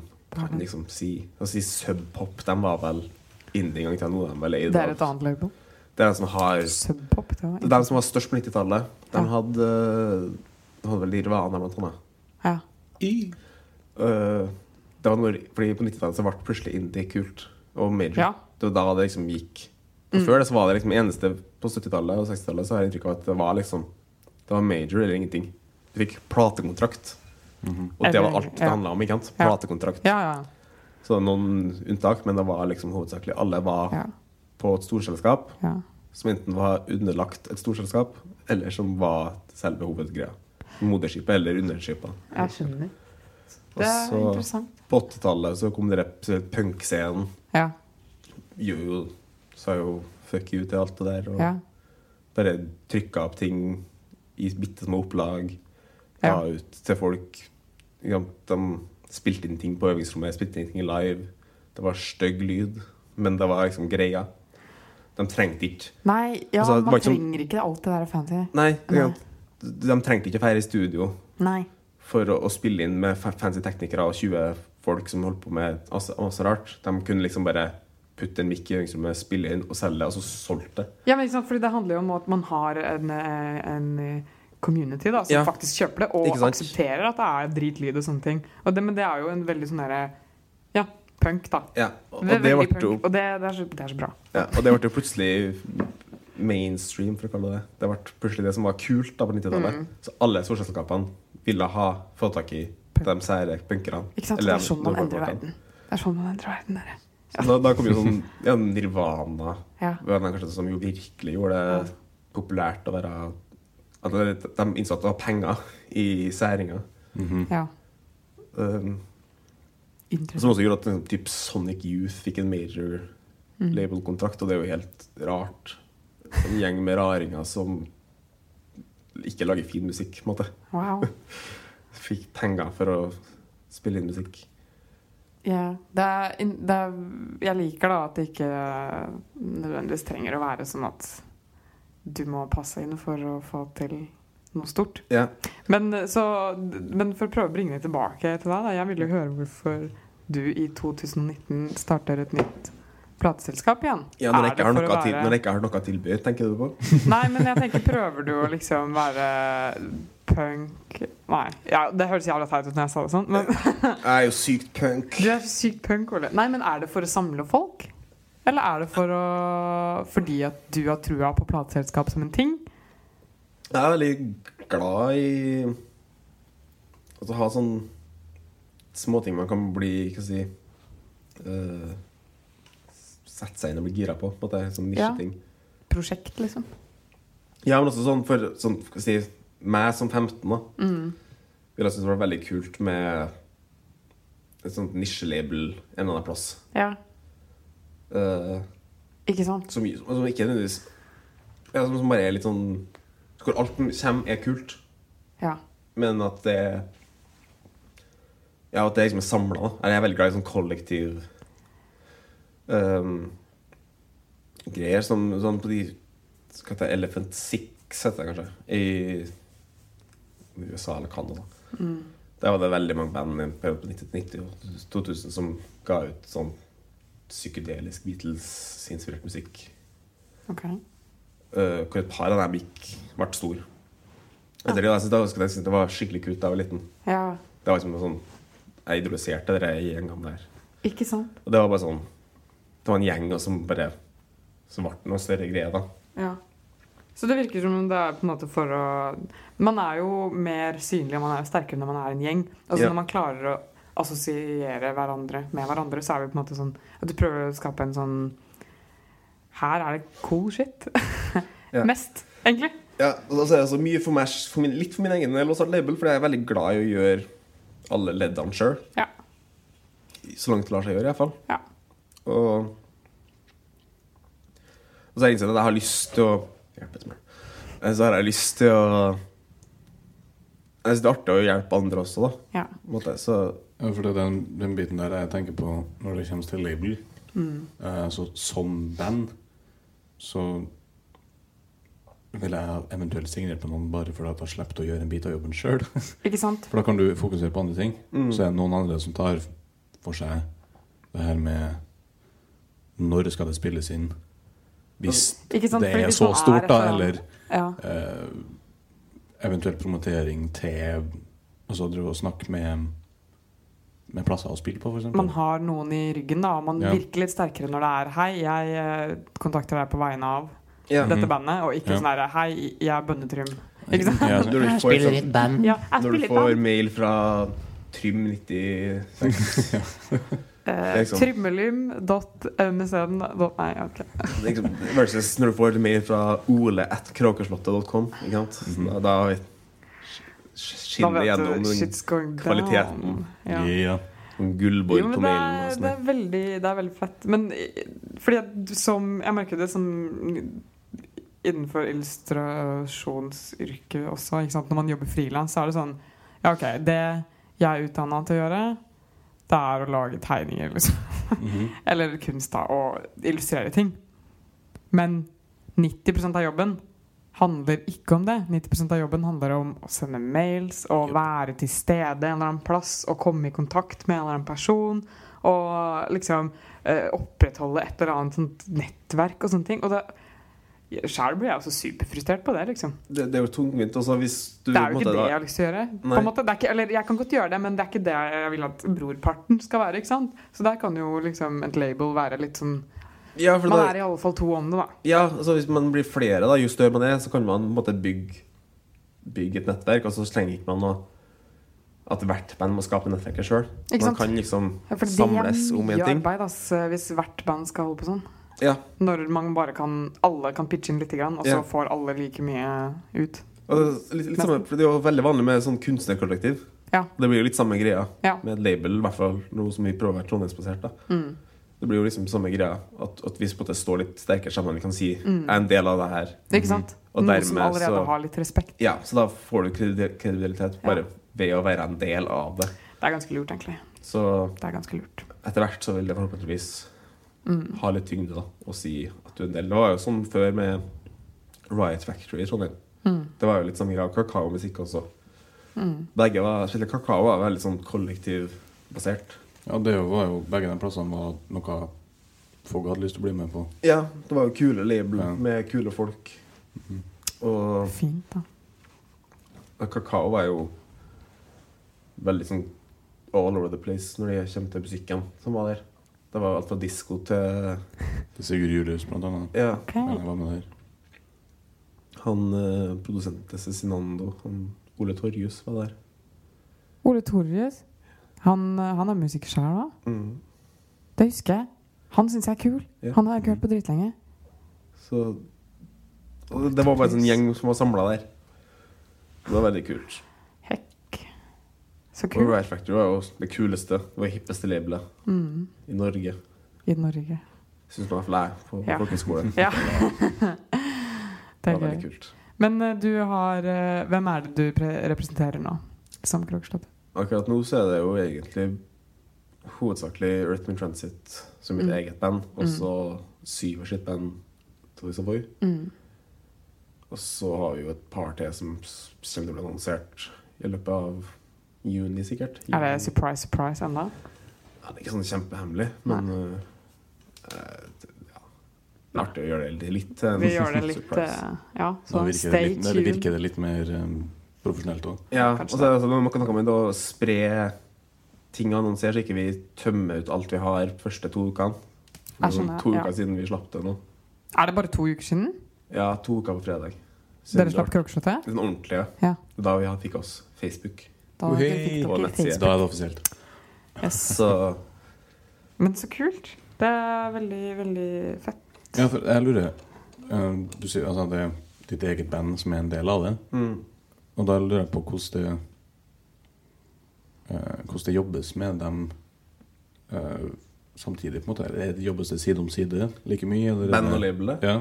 S3: kan liksom si Å si subpop, de var vel indie en gang til nå, de er vel eid
S1: Det er
S3: av-
S1: et annet label.
S3: Det er de som har
S1: Subpop. Det var
S3: Det er de som var størst på 90-tallet. De
S1: Ja.
S3: hadde eh, De hadde vel Nirvana blant annet.
S1: Ja.
S3: Øh, det var når, fordi på 90-tallet så ble plutselig indie kult og major.
S1: Ja. Mm.
S3: Det var da det liksom gikk. For Før det så var det liksom eneste på 70-tallet og 60-tallet så har jeg inntrykk av at det var liksom Det var major eller ingenting. Du fikk platekontrakt.
S2: Mhm.
S3: Og det
S1: Eller-
S3: var alt det
S1: ja.
S3: handla om. ikke sant?
S1: Ja.
S3: Platekontrakt.
S1: Ja, ja,
S3: Så det var noen unntak, men det var liksom hovedsakelig alle var
S1: ja,
S3: på et storselskap
S1: ja.
S3: som enten var underlagt et storselskap, eller som var selve hovedgreia. Moderskipet eller underskipet.
S1: Jeg skjønner.
S3: Og
S1: Det er
S3: så-
S1: interessant.
S3: På 80-tallet så kom det rep- punkscenen.
S1: Ja,
S3: Jo, jo, sa jo fuck you til alt det der. Og
S1: ja.
S3: bare trykka opp ting i bitte små opplag.
S1: Ja.
S3: Ga ut til folk. Ikke sant, De spilte inn ting på øvingsrommet, spilte inn ting live. Det var stygg lyd, men det var liksom greia. De trengte ikke
S1: Nei, ja,
S3: Altså, det var
S1: man
S3: ikke som-
S1: trenger ikke alt det der fancy.
S3: Nei, ikke
S1: Nei.
S3: sant, de trengte ikke å feire i studio
S1: Nei.
S3: for å, å spille inn med fa- fancy teknikere og 20 folk som holdt på med masse masse rart. De kunne liksom bare putte en mic i øvingsrommet, spille inn og selge det, og så solgte det.
S1: Ja, men ikke sant, fordi det handler jo om at man har en, eh, en eh, community da, som
S3: Ja.
S1: faktisk kjøper det,
S3: Ikke
S1: og
S3: sant?
S1: aksepterer at det er dritlyd og sånne ting. Og det, men det er jo en veldig sånn derre Ja, punk, da.
S3: Ja,
S1: Det
S3: og, og
S1: er
S3: det
S1: veldig
S3: ble jo
S1: punk, og det, det, er så, det er så bra.
S3: ja, og det ble jo plutselig mainstream, for å kalle det det. Det ble plutselig det som var kult da på 90-tallet.
S1: Mm.
S3: Så alle storselskapene ville ha få tak i de sære punkerne.
S1: Ikke sant?
S3: Eller
S1: Det er
S3: de
S1: sånn man endrer
S3: nordfolkene.
S1: verden. Det er sånn man endrer verden, dere.
S3: Så Da, da kom jo sånn ja, Nirvana
S1: Ja.
S3: var den kanskje som jo virkelig gjorde det populært å være At det- de innså at det var penger i særinga.
S2: Mhm.
S1: ja.
S3: Um, som
S1: Interessant.
S3: også gjorde at liksom, typ Sonic Youth fikk en major
S1: Mm.
S3: label-kontrakt, og det er jo helt rart. En gjeng med raringer som ikke lager fin musikk, på en måte.
S1: Wow.
S3: Fikk penger for å spille inn musikk.
S1: Ja, det er, in- det er, jeg liker da at det ikke nødvendigvis trenger å være sånn at du må passe inn for å få til noe stort.
S3: Ja.
S1: Men, så, men for å prøve å bringe det tilbake til deg, da, jeg vil jo høre hvorfor du i 2019 starter et nytt plateselskap igjen.
S3: Ja, når,
S1: Er
S3: jeg
S1: det
S3: ikke har
S1: for å
S3: noe til,
S1: være-
S3: når jeg ikke har noe å tilby, tenker du på?
S1: Nei, men jeg tenker prøver du å liksom være punk Nei, ja, det høres jævla teit ut når jeg sa det sånn, men
S3: Jeg er jo sykt punk.
S1: Du er så sykt punk, Ole. Nei, men er det for å samle folk? Eller er det for å fordi at du har trua på plateselskap som en ting?
S3: Jeg er veldig glad i altså, å ha sånn småting man kan bli Hva skal jeg si eh, Sette seg inn og bli gira på. på en måte, sånn
S1: Ja.
S3: nisjeting.
S1: Prosjekt, liksom.
S3: Ja. men også sånn for sånn, hva skal jeg si, meg som 15, da. ville jeg synes det var veldig kult med et sånt nisjelabel en eller annen plass.
S1: Ja,
S3: Eh,
S1: ikke sant?
S3: som, som ikke nødvendigvis ja, som, som bare er litt sånn Hvor alt som kommer, er kult,
S1: Ja.
S3: men at det Ja, at det liksom er samla. Jeg er veldig glad i sånn kollektiv ehm, Greier som sånn på de Hva heter det? Elephant Six, heter det kanskje. I USA eller Canada.
S1: Mm.
S3: Der var det veldig mange band i en periode på 1990 og 2000 som ga ut sånn psykedelisk Beatles-inspirert musikk.
S1: Ok.
S3: eh, hvor et par av dem gikk, ble store. Etter det, jeg synes, da husker jeg, jeg synes det var skikkelig kult da jeg var liten.
S1: Ja,
S3: Det var liksom sånn, Jeg idoliserte dere i en gang der.
S1: ikke sant?
S3: Og det var bare sånn Det var en gjeng og som bare Så ble det noe større greier, da.
S1: Ja. Så det virker som om det er på en måte for å Man er jo mer synlig og man er jo sterkere når man er en gjeng. Altså
S3: Ja.
S1: Når man klarer å assosiere hverandre med hverandre, så er vi på en måte sånn at du prøver å skape en sånn Her er det cool shit.
S3: Ja.
S1: Mest, egentlig.
S3: Ja, og da er det så mye for meg, for min, litt for min egen del også, label, for jeg er veldig glad i å gjøre alle leddene sjøl.
S1: Ja.
S3: Så langt det lar seg gjøre, i hvert fall.
S1: Ja.
S3: Og, og så har jeg innsett at jeg har lyst til å hjelpe til med. Eh, Så har jeg lyst til å Jeg syns det er artig å hjelpe andre også, da.
S1: Ja.
S3: På en måte. Så
S2: Ja, for det er den, den biten der jeg tenker på når det kommer til label.
S1: Mm.
S2: Eh, så som band så ville jeg eventuelt signert på noen bare fordi at jeg slapp å gjøre en bit av jobben sjøl.
S1: Ikke sant?
S2: For da kan du fokusere på andre ting.
S3: Mm.
S2: Så er det noen andre som tar for seg det her med når skal det spilles inn? Hvis
S1: Ikke sant?
S2: det
S1: Fordi
S2: er
S1: hvis
S2: så
S1: man
S2: stort, da,
S1: referan-
S2: eller
S1: ja.
S2: eh, eventuelt promotering til Altså drive og snakke med, med plasser å spille på, f.eks.
S1: man har noen i ryggen, da, og man
S2: Ja.
S1: virker litt sterkere når det er 'hei, jeg eh, kontakter deg på vegne av
S3: ja.
S2: Mhm.
S1: dette bandet', og ikke
S2: Ja.
S1: sånn her 'hei, jeg er bønnetrym'. Ikke sant?
S2: Ja,
S3: Når du
S4: Jeg
S3: får,
S4: spiller i et band.
S1: Ja, jeg
S3: når du
S1: spiller
S3: får
S1: band.
S3: mail fra Trym96
S1: Eh,
S3: liksom-
S1: Trymmelym.msn Nei, ok.
S3: liksom, versus når du får mail fra ole at kråkeslottet.com. Ikke sant? Da, da vet-
S1: Da
S3: skinner
S1: vet
S3: gjennom
S1: du
S3: den
S1: shit's going down.
S3: kvaliteten.
S1: Ja.
S2: Ja.
S1: Jo,
S3: den gullborg på
S1: men det
S3: mailen. og
S1: er, det
S3: sånn der.
S1: er veldig Det er veldig fett. Men eh, fordi at du- som Jeg merker det som innenfor illustrasjonsyrket også. Ikke sant? Når man jobber frilans, så er det sånn Ja, OK, det jeg er utdanna til å gjøre, det er å lage tegninger, liksom.
S2: Mhm.
S1: Eller kunst, da, og illustrere ting. Men 90 av jobben handler ikke om det. 90 av jobben handler om å sende mails, å
S2: Yep.
S1: være til stede en eller annen plass, å komme i kontakt med en eller annen person. Og liksom eh, opprettholde et eller annet sånt nettverk og sånne ting. Og det Sjæl blir jeg også superfrustrert på det, liksom.
S3: Det, det er jo tungvint. Altså, hvis du,
S1: Det er jo
S3: på
S1: ikke
S3: en måte
S1: det
S3: da-
S1: jeg har lyst til å gjøre. På
S3: Nei.
S1: en måte, det er ikke, eller jeg kan godt gjøre det, men det er ikke det jeg vil at brorparten skal være. ikke sant? Så der kan jo liksom et label være litt sånn
S3: ja, for
S1: Man
S3: da-
S1: er i alle fall to om det, da.
S3: ja, altså, hvis man blir flere, da, jo større man er, så kan man på en måte bygge, bygge et nettverk. Og så slenger ikke man noe at hvert band må skape nettverket sjøl.
S1: Ikke
S3: Man
S1: sant?
S3: kan liksom
S1: Ja, for det
S3: samles
S1: er
S3: om
S1: mye
S3: en ting.
S1: arbeid ass, eh, hvis hvert band skal holde på sånn.
S3: Ja.
S1: Når man bare kan alle kan pitche inn lite grann, og så
S3: Ja.
S1: får alle like mye ut.
S3: Og det, er litt, litt samme, for det er jo veldig vanlig med sånn kunstnerkollektiv.
S1: Ja.
S3: Det blir jo litt samme greia
S1: Ja.
S3: med et label, i hvert fall noe som vi prøver å være trondheimsbasert. da.
S1: Mm.
S3: Det blir jo liksom samme greia at, at vi på en måte står litt sterkere sammen. Vi kan si jeg er en del av det her.
S1: Mm. Ikke sant?
S3: Mhm. Og
S1: Noe
S3: dermed
S1: som allerede
S3: så-
S1: har litt respekt.
S3: Ja, så da får du kredi- kredibilitet bare ved å være en del av det.
S1: Det er ganske lurt, egentlig.
S3: Så
S1: Det er ganske lurt. Mm.
S3: etter hvert så vil det forhåpentligvis ha litt tyngde da, å si at du er en del. Det var jo sånn før med Riot Factory i Trondheim.
S1: Mm.
S3: Det var jo litt samme greia. Kakao-musikk også. Begge var, spesielt kakao var veldig sånn kollektivbasert.
S2: ja, det var jo begge de plassene var noe folk hadde lyst til å bli med på.
S3: Ja, det var jo kule label
S2: Ja.
S3: med kule folk. Og
S1: Fint, da.
S3: Og kakao var jo veldig sånn all over the place når det kommer til musikken som var der. Det var alt fra disko til
S2: Til Sigurd Julius, blant annet.
S3: Ja,
S1: Ok.
S2: Men Jeg var med der.
S3: han eh, produsenten til Cezinando, han Ole Torjus, var der.
S1: Ole Torjus, han, eh, han er musiker sjøl, da?
S3: Mm.
S1: Det husker jeg. Han syns jeg er kul.
S3: Ja.
S1: Han har jeg ikke hørt på dritlenge.
S3: Så og det- Det var bare en sånn gjeng som var samla der. Det var veldig kult.
S1: Hekk. Så
S3: Og
S1: kult.
S3: Right Factory var jo det kuleste og hippeste labelet
S1: Mm.
S3: i Norge.
S1: I Norge.
S3: Syns man i hvert fall jeg på
S1: Ja.
S3: folkehøyskole.
S1: Ja.
S3: Det
S1: Det er
S3: var veldig
S1: gøy.
S3: kult.
S1: Men eh, du har eh, Hvem er det du pre representerer nå? Som Krogstad?
S3: Akkurat nå så er det jo egentlig hovedsakelig Rhythm Transit som mitt
S1: Mm.
S3: eget band, og
S1: Mm.
S3: så Syver sitt band Toys Boy.
S1: Mm.
S3: Og så har vi jo et par til som s- kommer til å bli annonsert i løpet av juni, sikkert.
S1: Er det
S3: Juni.
S1: surprise, surprise ennå?
S3: Ja, det er ikke sånn kjempehemmelig, men øh, eh, det- ja. Det er artig å gjøre det litt til en
S1: Vi gjør det litt
S3: surprise.
S1: eh, Ja,
S2: Nå
S1: så
S2: virker det
S1: stay
S2: litt, nå
S1: tuned.
S2: virker det litt mer um, profesjonelt òg.
S3: Ja,
S1: Kanskje
S3: og så er det altså, man kan snakke om å spre ting og annonsere, så ikke vi tømmer ut alt vi har første to ukene. Det er
S1: Jeg
S3: sånn
S1: skjønner,
S3: to
S1: ja.
S3: uker siden vi slapp det nå.
S1: Er det bare to uker siden
S3: Ja, to uker på fredag. Sånn Så
S1: dere
S3: det
S1: slapp
S3: var
S1: Krogslottet?
S3: Den ordentlige.
S1: Ja.
S3: Da vi fikk oss Facebook.
S1: Da
S2: Ohei,
S1: dere fikk
S3: på
S1: dere
S3: nettsiden.
S2: Da er det offisielt.
S1: Facebook. Yes.
S3: Så
S1: Men så kult. Det er veldig, veldig fett.
S2: Ja, for jeg lurer um, Du sier altså at det er ditt eget band som er en del av det.
S3: mm.
S2: Og da lurer jeg på hvordan det eh, Hvordan det jobbes med dem eh, samtidig, på en måte. Er det jobbes det side om side like mye? Eller er
S3: Band
S2: det-
S3: og labelet.
S2: Ja.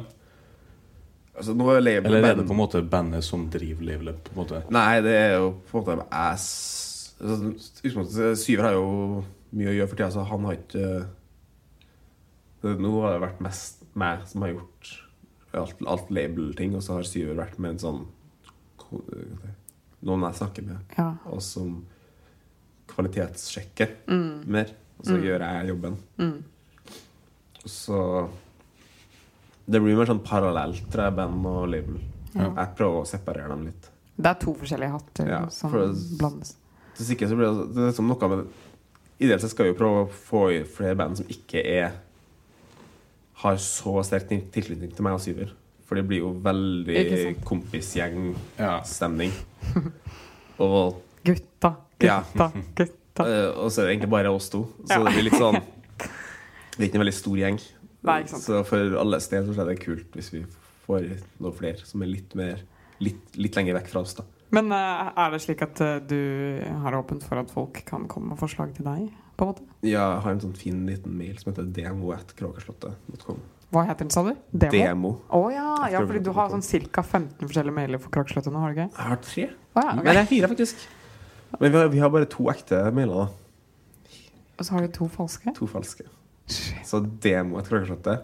S3: Altså, nå er labelet
S2: Eller er
S3: band.
S2: det på en måte bandet som driver labelet? på en måte?
S3: Nei, det er jo på en måte ass altså, utgangspunktet- Syver har jo mye å gjøre for tida, så han har ikke det, Nå har det vært mest meg som har gjort alt, alt label-ting, og så har Syver vært med en sånn ko- eh, Noen jeg snakker med,
S1: Ja.
S3: og som kvalitetssjekker
S1: Mm.
S3: mer. Og så
S1: Mm.
S3: gjør jeg jobben.
S1: Mm.
S3: Og så Det blir mer sånn parallelt, tror jeg, band og label.
S1: Ja.
S3: Jeg prøver å separere dem litt.
S1: Det er to forskjellige hatter
S3: Ja,
S1: som
S3: for-
S1: blandes.
S3: Hvis ikke så blir det, det er liksom noe med Ideelt sett skal vi jo prøve å få i flere band som ikke er har så sterk til- tilknytning til meg og Syver. For det blir jo veldig
S1: Ikke
S3: kompisgjengstemning.
S2: Ja.
S3: Og,
S1: Gutta,
S3: Ja.
S1: gutta, gutta.
S3: eh, og så er det egentlig bare oss to. Så
S1: Ja.
S3: det blir litt sånn Det er ikke en veldig stor gjeng.
S1: Nei, ikke sant.
S3: Så for alles del så er det kult hvis vi får noen flere som er litt mer Litt, litt lenger vekk fra oss, da.
S1: Men eh, er det slik at eh, du har åpent for at folk kan komme med forslag til deg? På en måte?
S3: Ja, jeg har en sånn fin liten mail som heter dmo.kråkeslottet.com.
S1: Hva het den, sa du? Demo?
S3: Demo.
S1: Å ja, ja,
S3: prøver
S1: fordi du
S3: å-
S1: har sånn ca. 15 forskjellige mailer for Krogslottet nå, har du ikke?
S3: Jeg har tre.
S1: Å ja, ok.
S3: Nei, det er fire, faktisk. Men vi har, vi har bare to ekte mailer, da.
S1: Og så har du to falske?
S3: To falske.
S1: Shit.
S3: Så demo et krakkeslotte,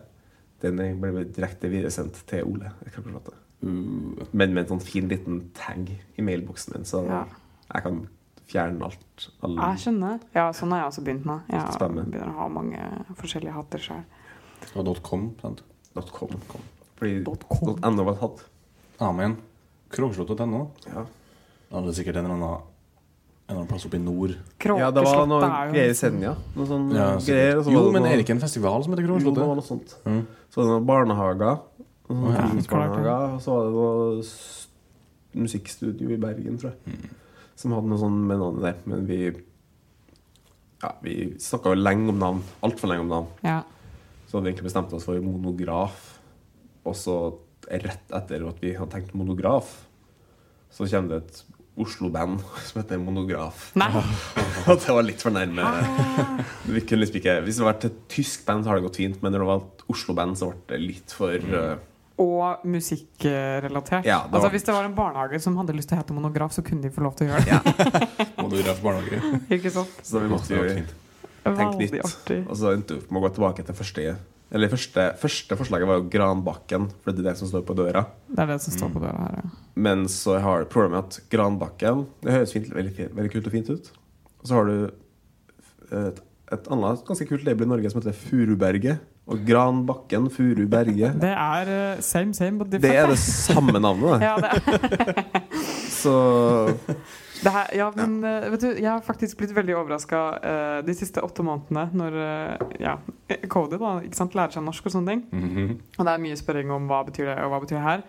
S3: den ble direkte videresendt til Ole. et krakkeslotte.
S2: Uh,
S3: Men med en sånn fin liten tag i mailboksen min, så
S1: Ja. Ah,
S3: jeg kan fjerne alt. Alle.
S1: Jeg skjønner. Ja, sånn har jeg også begynt med. Jeg
S3: Spennende.
S1: begynner å ha mange forskjellige hatter sjøl.
S2: og .com, sant?
S3: .com. Fordi
S1: Dot com.
S3: .no var tatt.
S2: Amen. Krogslott.no.
S3: Ja.
S2: Ja, det er sikkert en eller annen, en eller annen plass oppe i nord.
S3: ja, det var noe
S1: er
S3: greier
S1: jo
S3: i Senja. Noe sånn
S2: Ja,
S3: greier. og
S2: sikkert.
S3: så var
S2: jo,
S3: det
S2: men
S3: noe-
S2: er det ikke en festival som heter
S3: Jo, det var
S2: Krogslottet?
S3: noe sånt.
S2: Mm.
S3: Så var det noen barnehager. Og så
S2: Å, ja.
S3: noen barnehager, og så var det noe s- musikkstudio i Bergen, tror jeg.
S2: Mm.
S3: Som hadde noe sånn med navnet der. Men vi ja, vi snakka jo lenge om navn. Altfor lenge om navn.
S1: Ja.
S3: Så hadde vi egentlig bestemt oss for monograf. Og så rett etter at vi hadde tenkt monograf, så kommer det et Oslo-band som heter Monograf.
S1: Nei! Ah.
S3: Og det var litt for nærme. Vi kunne liksom ikke, hvis det hadde vært et tysk band, så har det gått fint. Men når det var et Oslo-band, så ble det litt for
S2: Mm.
S3: eh,
S1: Og musikkrelatert.
S3: Ja, det var-
S1: Altså Hvis det var en barnehage som hadde lyst til å hete Monograf, så kunne de få lov til å gjøre det.
S2: Monograf barnehage.
S1: Ikke sant?
S3: Så vi måtte
S2: Det
S3: jo
S2: var fint.
S3: tenke
S1: Veldig
S3: nytt.
S1: artig.
S3: Og så endte vi opp med å gå tilbake til første Eller første, første forslaget var jo Granbakken, for det er det som står på døra.
S1: Det er det som
S3: Mm.
S1: står på døra her. ja.
S3: Men så har du problemet med at Granbakken Det høres fint, veldig, fint- veldig kult og fint ut. Og så har du et, et annet ganske kult label i Norge som heter Furuberget. Og Granbakken, Furuberget.
S1: Det er eh, same, same, but
S3: Det er
S1: different.
S3: det samme navnet,
S1: Ja, det er.
S3: da. Så
S1: Det her, ja, men eh, vet du, jeg har faktisk blitt veldig overraska de siste åtte månedene når eh, ja, Cody da, ikke sant, lærer seg norsk og sånne ting.
S2: Mhm.
S1: Og det er mye spørring om hva betyr det og hva betyr det her.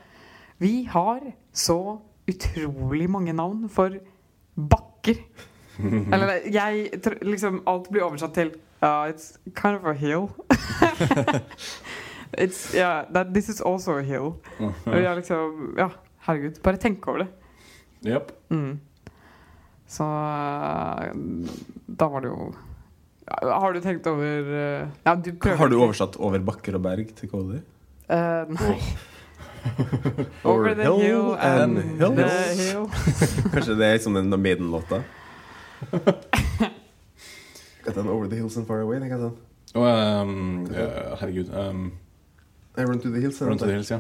S1: Vi har så utrolig mange navn for bakker. Eller det- jeg tr- liksom Alt blir oversatt til uh, It's kind of a hill. it's, yeah, that, this is also a hill.
S2: Mhm.
S1: Og jeg liksom Ja, herregud. Bare tenk over det.
S2: Japp.
S1: Mm. Så eh, da var det jo Ja, Har du tenkt over eh, Ja, du prøver
S3: Har du
S1: ikke-
S3: oversatt 'over bakker og berg' til KD?
S1: Eh, nei.
S3: Over
S1: Over the
S3: hill
S1: hill and,
S3: and hills.
S1: the hill.
S3: Kanskje det er som den Maiden-låta? Got den 'Over the Hills and Far Away'? tenker jeg sånn.
S2: Og ehm, eh, herregud um,
S3: I run to the hills.
S2: Rundt til Hills, ja.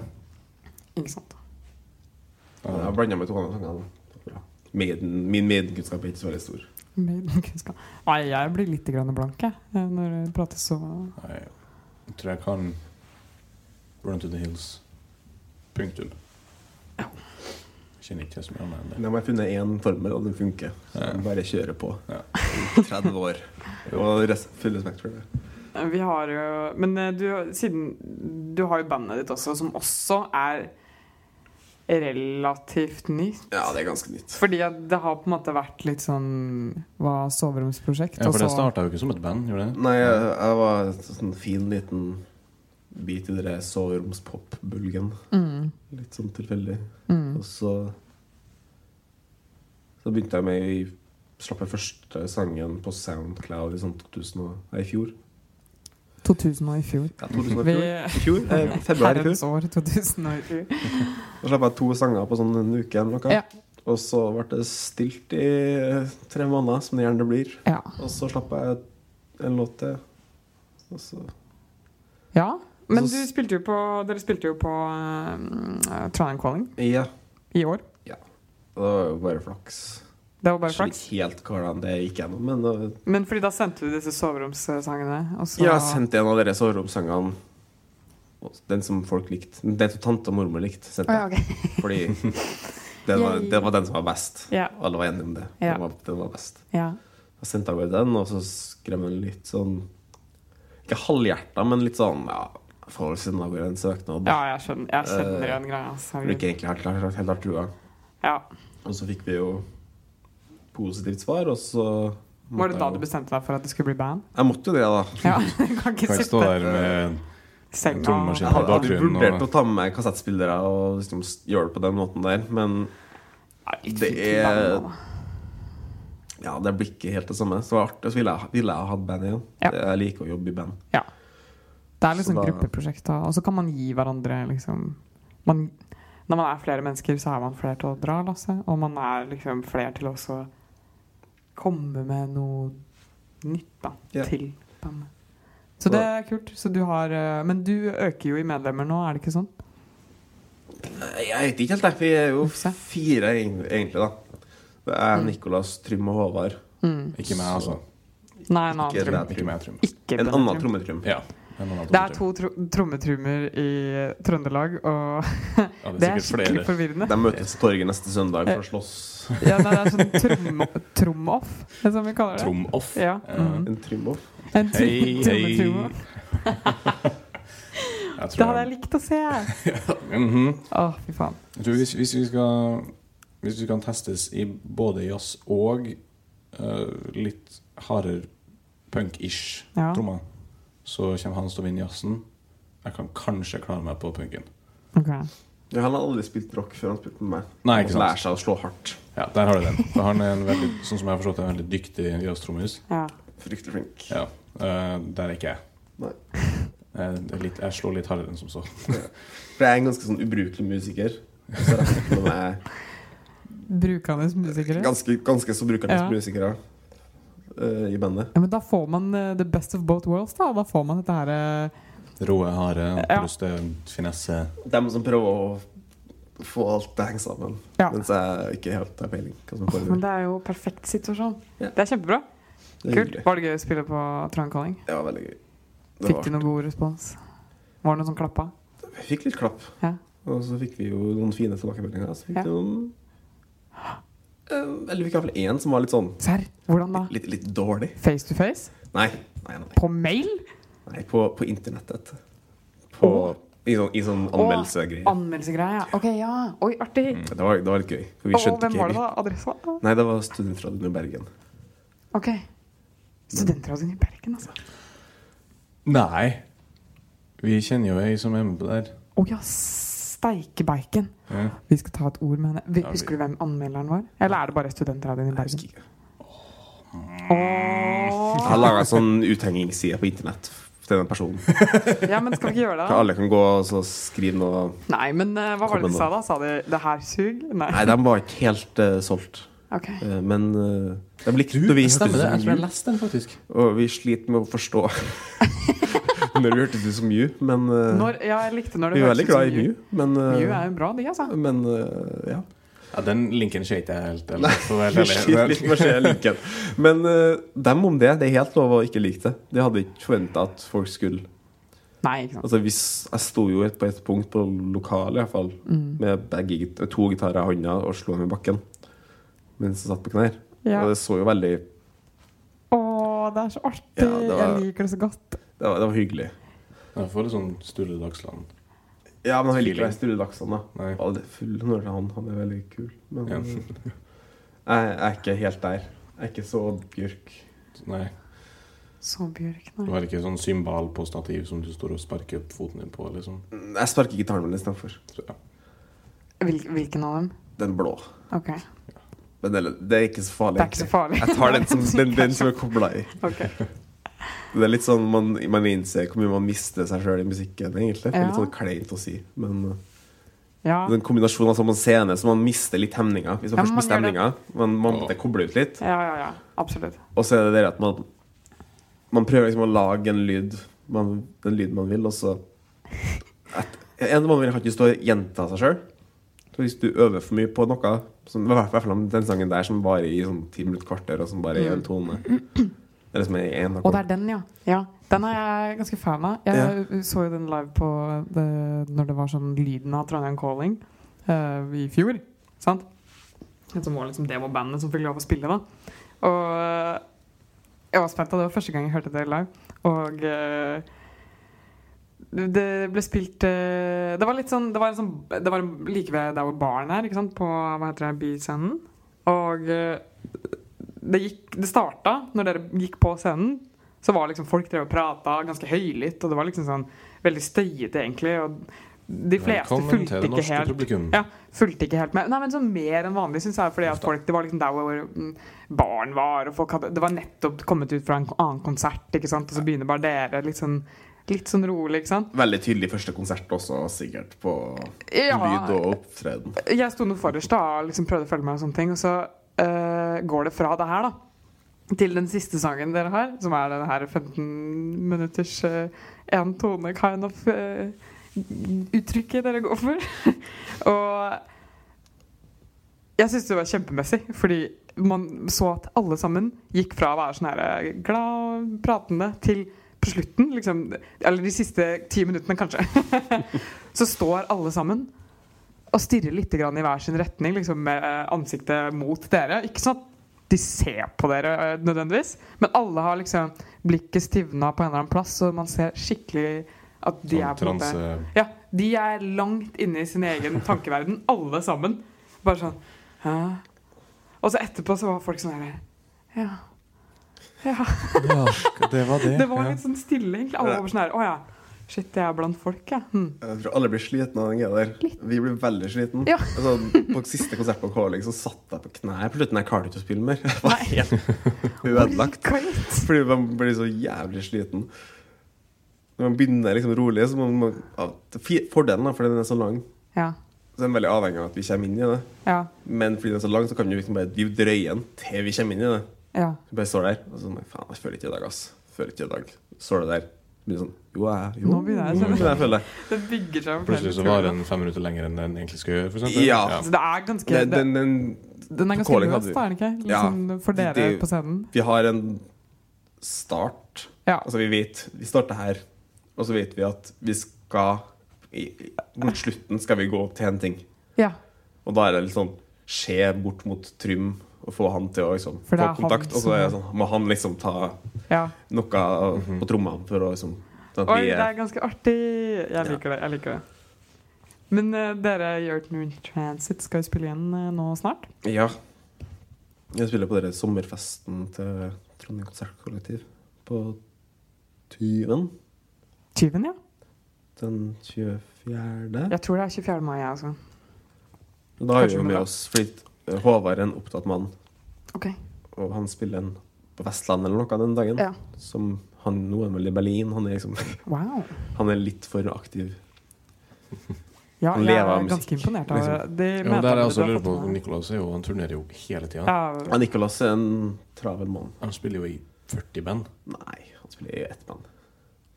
S1: Ikke sant.
S3: Ja, Jeg blanda meg to andre sanger. da. Bra. Maiden, min Maiden-kunnskap er ikke så veldig stor.
S1: Maidenkunnskap. Nei, jeg blir litt grann blank jeg, eh, når det prates så
S2: Nei, jeg tror jeg kan Run to the Hills. Punktum. Jeg Kjenner ikke så mye annet enn det.
S3: Men jeg har funnet én formel, og den funker. Så
S2: Ja.
S3: jeg bare kjører på.
S2: Ja.
S3: I 30 år. Og rest, full respekt for det.
S1: Eh, Vi har jo Men eh, du, siden du har jo bandet ditt også, som også er relativt nytt.
S3: Ja, det er ganske nytt.
S1: Fordi at det har på en måte vært litt sånn Hva soveromsprosjekt.
S2: Ja,
S1: og
S2: for det
S1: så-
S2: starta jo ikke som et band, gjorde det?
S3: Nei, jeg, jeg var en sånn fin liten bit i den soveromspop-bulgen.
S1: Mm,
S3: Litt sånn tilfeldig.
S1: mm.
S3: Og så Så begynte jeg med i Slapp jeg første sangen på Soundcloud i sånn 2000 og, nei, i fjor.
S1: 2000 og i fjor.
S3: Ja, 2000 og i fjor.
S1: Vi,
S3: I fjor, eh, Februar i fjor.
S1: herrens år 2000 og i fjor.
S3: Da slapp jeg to sanger på sånn en uke eller noe.
S1: Ja.
S3: Og så ble det stilt i eh, tre måneder, som det gjerne blir.
S1: Ja.
S3: Og så slapp jeg en låt til. Og så
S1: ja. Men
S3: Så s-
S1: du spilte jo på, dere spilte jo på uh, Trondheim Calling
S3: Ja.
S1: i år.
S3: Det var jo bare flaks.
S1: Det var bare flaks.
S3: Ikke helt hvordan det gikk gjennom, men det var-
S1: Men fordi da sendte du disse soveromssangene, og så
S3: Jeg har sendt en av dere soveromssangene. og Den som folk likte. Den som tante og mormor likte. Sendte.
S1: Å, ja,
S3: jeg.
S1: ok.
S3: Fordi den var,
S1: Yay.
S3: den var den som var best.
S1: Ja.
S3: Alle var enige om det.
S1: Ja.
S3: Den, var, den var best.
S1: ja.
S3: Jeg sendte over den, og så skrev jeg litt sånn Ikke halvhjerta, men litt sånn Ja, jeg får vel sende av gårde en søknad.
S1: Ja, jeg skjønner, jeg skjønner igjen greia. altså.
S3: Jeg ble ikke egentlig helt, helt, helt hardt trua.
S1: Ja.
S3: Og så fikk vi jo positivt svar, og så måtte
S1: Var det da
S3: jeg
S1: du
S3: jo-
S1: bestemte deg for at det skulle bli band?
S3: Jeg måtte jo det, da.
S1: Ja, du kan
S2: Kan
S1: ikke
S2: ikke stå
S1: sitte
S2: der med
S1: i senga og
S2: trommaskin.
S3: Jeg hadde, hadde
S2: Bakgrunnen
S3: vurdert
S2: og-
S3: å ta med meg kassettspillere og liksom s- gjøre det på den måten der, men
S1: Nei,
S3: Det
S1: fint
S3: er-
S1: band, da.
S3: ja, det blir ikke helt det samme. Så det var artig, så ville jeg, ville jeg hatt band igjen.
S1: Ja.
S3: Jeg liker å jobbe i band.
S1: Det er liksom
S3: Så da-
S1: gruppeprosjekt, da. Og så kan man gi hverandre liksom man, Når man er flere mennesker, så er man flere til å dra lasset. Og man er liksom flere til å også komme med noe nytt, da.
S3: Ja.
S1: Til bandet. Så det er kult. Så du har eh, Men du øker jo i medlemmer nå, er det ikke sånn?
S3: Nei, Jeg vet ikke helt, jeg. Vi er jo
S1: Uffe.
S3: fire, egen- egentlig, da. Det er Nicolas, Trym og Håvard.
S1: Mm.
S2: Ikke meg, altså.
S1: Nei, en annen
S3: Ikke
S1: tromme.
S3: det.
S2: Ikke meg, Trym.
S1: Ikke
S3: En
S1: Benny
S3: annen
S1: Trym.
S3: trommetrym.
S2: Ja. en annen
S1: Det er
S2: Trym.
S1: to tro trommetrommer i Trøndelag, og
S2: Ja,
S1: det er
S2: sikkert flere.
S1: skikkelig forvirrende.
S3: De møtes på torget neste søndag for å slåss.
S1: Ja, nei, det er sånn trom- trom-off, som vi kaller det.
S2: Trom-off.
S1: Ja,
S2: Eh,
S1: mm.
S3: En trym-off.
S1: En tr-
S2: Hei, hei.
S1: trommetromme.
S2: Jeg
S1: Det
S2: tror
S1: hadde jeg
S2: jeg,
S1: likt å se! Å,
S2: Mhm.
S1: fy faen.
S2: jeg tror hvis, hvis vi skal Hvis vi kan testes i både jazz og eh, litt hardere punk-ish
S1: Ja.
S2: trommer, så kommer han til å vinne jazzen. Jeg kan kanskje klare meg på punken.
S1: Ok.
S3: Ja, han har aldri spilt rock før han spilte med meg.
S2: Nei, ikke
S3: Han lærer
S2: sant.
S3: seg å slå hardt.
S2: Ja, der har du den. For han er en veldig, sånn som jeg har forstått, en veldig dyktig jazztrommis.
S1: Ja.
S3: Fryktelig flink.
S2: Ja, eh, der er ikke jeg.
S3: Nei.
S2: Jeg, det er litt, jeg slår litt hardere enn som så.
S3: For jeg er en ganske sånn ubrukelig musiker. Så jeg snakker med meg
S1: Brukende musikere.
S3: ganske, ganske så brukernes
S1: Ja.
S3: musikere eh, i bandet.
S1: Ja, men da får man eh, the best of both worlds, da. Da får man dette her eh,
S2: Råe, harde,
S1: Ja.
S2: pluss det er finesse.
S3: Dem som prøver å få alt til å henge sammen.
S1: Ja.
S3: Mens jeg ikke helt har peiling. Hva som
S1: Men
S3: foregår.
S1: det er jo perfekt situasjon.
S3: Ja.
S1: Det er kjempebra.
S3: Det er
S1: Kult.
S3: hyggelig.
S1: Var det gøy å spille på Trond Calling?
S3: Det var veldig gøy. Det
S1: Fikk
S3: var-
S1: du noe god respons? Var det noen som klappa?
S3: Vi fikk litt klapp.
S1: Ja.
S3: Og så fikk vi jo noen fine tilbakemeldinger. Så fikk
S1: Ja.
S3: vi noen Eh, Eller vi fikk iallfall én som var litt sånn
S1: Serr? Hvordan da?
S3: litt, litt, litt dårlig.
S1: Face to face?
S3: Nei, nei, nei.
S1: På mail?
S3: nei på, på internettet. På, I sånn, i sånn anmeldelsegreier.
S1: Anmeldelsegreie? Ok, ja. Oi, artig.
S3: Det, var- det var litt gøy. For vi
S1: Og
S3: skjønte
S1: hvem
S3: ikke
S1: var det,
S3: helt Mm.
S1: da? Adressa?
S3: Nei, det var studentradioen i Bergen.
S1: Ok. Studentradioen i Bergen, altså.
S2: Nei. Vi kjenner jo ei som er med på det her.
S1: Å ja, s- Steike bacon!
S2: Ja.
S1: Vi skal ta et ord med henne. Vi-
S2: Ja, vi-
S1: Husker du hvem anmelderen var? Eller er det bare studentradioen i
S3: Jeg husker
S1: Bergen?
S3: ikke. Jeg har
S1: Åh.
S3: laga en sånn uthengingsside på internett til den personen.
S1: Ja, men skal vi ikke gjøre det?
S3: Kan
S1: da?
S3: alle kan gå og så skrive noe
S1: Nei, men eh, hva var det
S3: Kom
S1: de
S3: igjen
S1: sa da? Sa de 'det her sug'? Nei.
S3: Nei, de var ikke helt eh, solgt.
S1: Ok.
S3: Eh, men eh, de likte
S2: Du,
S3: det. Vi
S2: stemmer det. Jeg tror jeg
S3: hørtes ut som you,
S2: har lest den, faktisk.
S3: og vi sliter med å forstå når vi hørtes ut som you. Men eh,
S1: Når, ja, jeg likte når det
S3: vi er veldig
S1: hørtes ut som
S3: glad i Mew. Men, eh,
S1: Mew er jo bra, de, altså.
S3: men eh, ja.
S2: Ja, Den linken skøyt jeg helt. Eller, for å være
S3: Vi
S2: helt ærlig.
S3: sliter litt med å se linken. Men eh, dem om det. Det er helt lov å ikke like det. De hadde ikke forventa at folk skulle
S1: Nei, ikke sant.
S3: Altså hvis Jeg sto jo et, på et punkt på lokalet, i hvert fall
S1: Mm.
S3: med begge, git- to gitarer i hånda og slo dem i bakken mens jeg satt på knær.
S1: Ja.
S3: Og det så jo veldig
S1: Å, det er så artig!
S3: Ja, det var-
S1: Jeg liker det så godt.
S3: Det var, det var hyggelig.
S2: Jeg får litt sånn Sturle Dagsland.
S3: Ja, men han
S2: Feeling.
S3: liker meg Sture Dagsson, da.
S2: Nei.
S3: Ja, det er full når det er han. Han er veldig kul. Men
S2: Ja.
S3: jeg, jeg er ikke helt der. Jeg er ikke så Bjørk.
S2: Nei.
S1: Så Bjørk,
S2: Du
S1: nei.
S2: har ikke sånn symbal på stativ som du står og sparker opp foten din på, liksom.
S3: Jeg sparker gitaren min istedenfor.
S2: Så, ja.
S1: Hvil, hvilken av dem?
S3: Den blå.
S1: Ok.
S3: Men det, det er ikke så farlig.
S1: Det er ikke så farlig.
S3: Jeg tar den som, den, den som er kobla i.
S1: Ok.
S3: Det er litt sånn man, man innser hvor mye man mister seg sjøl i musikken, egentlig. Det er
S1: Ja.
S3: litt sånn kleint å si, men uh,
S1: Ja.
S3: Den kombinasjonen av sånn en scene, så man mister litt hemninga. Hvis
S1: Ja,
S3: man først
S1: man
S3: mister
S1: gjør det.
S3: hemninga, man, man måtte koble ut litt.
S1: Ja, ja, ja. Absolutt.
S3: Og så er det det at man Man prøver liksom å lage en lyd man, Den lyden man vil, og så at, En man vil ha ikke stå og gjenta seg sjøl. Så hvis du øver for mye på noe, som, i hvert fall om den sangen der som varer i sånn ti minutter, kvarter, og som bare er en tone Eller som er i en
S1: Mm. Og det er den, ja. ja. Den er jeg ganske fan av. Jeg så jo den live på det, når det var sånn lyden av Trondheim Calling eh, i fjor. Sant? Så var liksom det var bandet som fikk lov å spille, da. Og eh, jeg var spent, og det var første gang jeg hørte det live. Og eh, det ble spilt eh, Det var litt sånn Det var, en sånn, det var like ved der hvor baren er, ikke sant? På hva heter det, Byscenen. Og eh, det, gikk, det starta når dere gikk på scenen. Så var liksom folk drev og prata ganske høylytt, og det var liksom sånn veldig støyete, egentlig. Og de fleste
S2: Velkommen
S1: fulgte
S2: til det
S1: ikke
S2: norske
S1: helt
S2: publikum.
S1: ja, fulgte ikke helt med. Nei, men sånn mer enn vanlig, syns jeg. Fordi at
S2: Ofte.
S1: folk, Det var liksom der hvor mm, barn var, og folk hadde Det var nettopp kommet ut fra en annen konsert, ikke sant. Og så begynner bare dere litt sånn, litt sånn rolig, ikke sant.
S3: Veldig tydelig første konsert også, sikkert, på
S1: Ja.
S3: lyd og opptreden.
S1: Jeg sto nå forrest da og liksom prøvde å følge med, og sånne ting Og så eh, går det fra det her da til den siste sangen dere har, som er den her 15 minutters eh, en tone kind of eh, uttrykket dere går for. og jeg syns det var kjempemessig, fordi man så at alle sammen gikk fra å være sånn her eh, glad og pratende til på slutten, liksom, eller de siste ti minuttene kanskje, så står alle sammen og stirrer litt grann i hver sin retning, liksom med eh, ansiktet mot dere. Ikke sånn at de ser på dere eh, nødvendigvis, men alle har liksom blikket stivna på en eller annen plass, og man ser skikkelig at de er
S2: Sånn
S1: på en måte
S2: transe...
S1: ja, de er langt inne i sin egen tankeverden, alle sammen. Bare sånn Hæ? Og så etterpå så var folk sånn her Ja. ja.
S2: Ja, det var det.
S1: Det var litt sånn stille, egentlig. Alle var bare sånn her Å ja. Shit, jeg er blant folk, jeg. Ja. Hm.
S3: Jeg tror alle blir slitne av den greia der. Vi blir veldig sliten.
S1: Ja.
S3: Altså, på siste konsert på Calling så satt jeg på knær på slutten. Jeg klarte ikke å spille mer. Jeg var helt ødelagt.
S1: Great.
S3: Fordi man blir så jævlig sliten. Når man begynner liksom rolig, så må man ja, det er fi- Fordelen er fordi den er så lang,
S1: Ja.
S3: så er den veldig avhengig av at vi kommer inn i det.
S1: Ja.
S3: Men fordi den er så lang, så kan vi liksom bare vi drøyer den til vi kommer inn i det.
S1: Ja.
S3: Så bare står der. Og så nei, faen, jeg føler ikke i dag, ass. Føler ikke i dag. Står det der. Begynner sånn Jo, jeg jo,
S1: Nå begynner jeg å
S3: nå
S1: kjenne-
S3: begynner jeg å føle det.
S1: Det bygger seg opp
S2: Plutselig så
S1: flere
S2: var den fem minutter lenger enn den egentlig skulle gjøre, for eksempel.
S3: Ja.
S1: Så det er ganske
S3: Den,
S1: det,
S3: den, den
S1: Den er ganske
S3: Calling
S1: løs,
S3: hadde vi.
S1: da, er den ikke?
S3: Ja.
S1: Liksom, For
S3: Det-
S1: dere
S3: det-
S1: på scenen.
S3: Vi har en start.
S1: Ja.
S3: Altså, vi vet Vi starter her, og så vet vi at vi skal i, i- Mot slutten skal vi gå til en ting.
S1: ja.
S3: Og da er det litt sånn Se bort mot Trym og få han til å liksom,
S1: For
S3: få
S1: det er han
S3: kontakt. Og så
S1: som-
S3: er det sånn, må han liksom ta
S1: ja.
S3: noe av- på trommene for å liksom sånn at
S1: Oi,
S3: vi
S1: Mhm. det
S3: er,
S1: er ganske artig. Jeg liker det. jeg liker det Men eh, dere i Earth Moon Transit skal jo spille igjen eh, nå snart.
S3: Ja. Jeg spiller på dere sommerfesten til Trondheim Konsertkollektiv på Tyven.
S1: Tyven, ja.
S3: den 24.
S1: Jeg tror det er 24. mai, jeg altså. også.
S3: Da har
S1: Kanskje
S3: vi jo
S1: vi
S3: med
S1: da-
S3: oss fordi Håvard er en opptatt mann,
S1: Ok.
S3: og han spiller en på Vestlandet eller noe den dagen.
S1: Ja.
S3: Som han, nå er han vel i Berlin. Han er, liksom,
S1: Wow.
S3: han er litt for aktiv.
S1: Ja,
S3: Han
S1: jeg
S3: lever av
S1: er ganske
S3: musikk,
S1: imponert av
S3: liksom.
S1: de
S2: Ja, men
S1: medlemmene
S2: der er jeg
S1: du
S2: også
S1: har
S2: lurer
S1: fått
S2: på
S1: med.
S2: Nicolas er jo Han turnerer jo hele tida.
S1: Ja,
S3: Ja, Nicolas er en travel mann.
S2: Han spiller jo i 40 band.
S3: Nei, han spiller i ett band.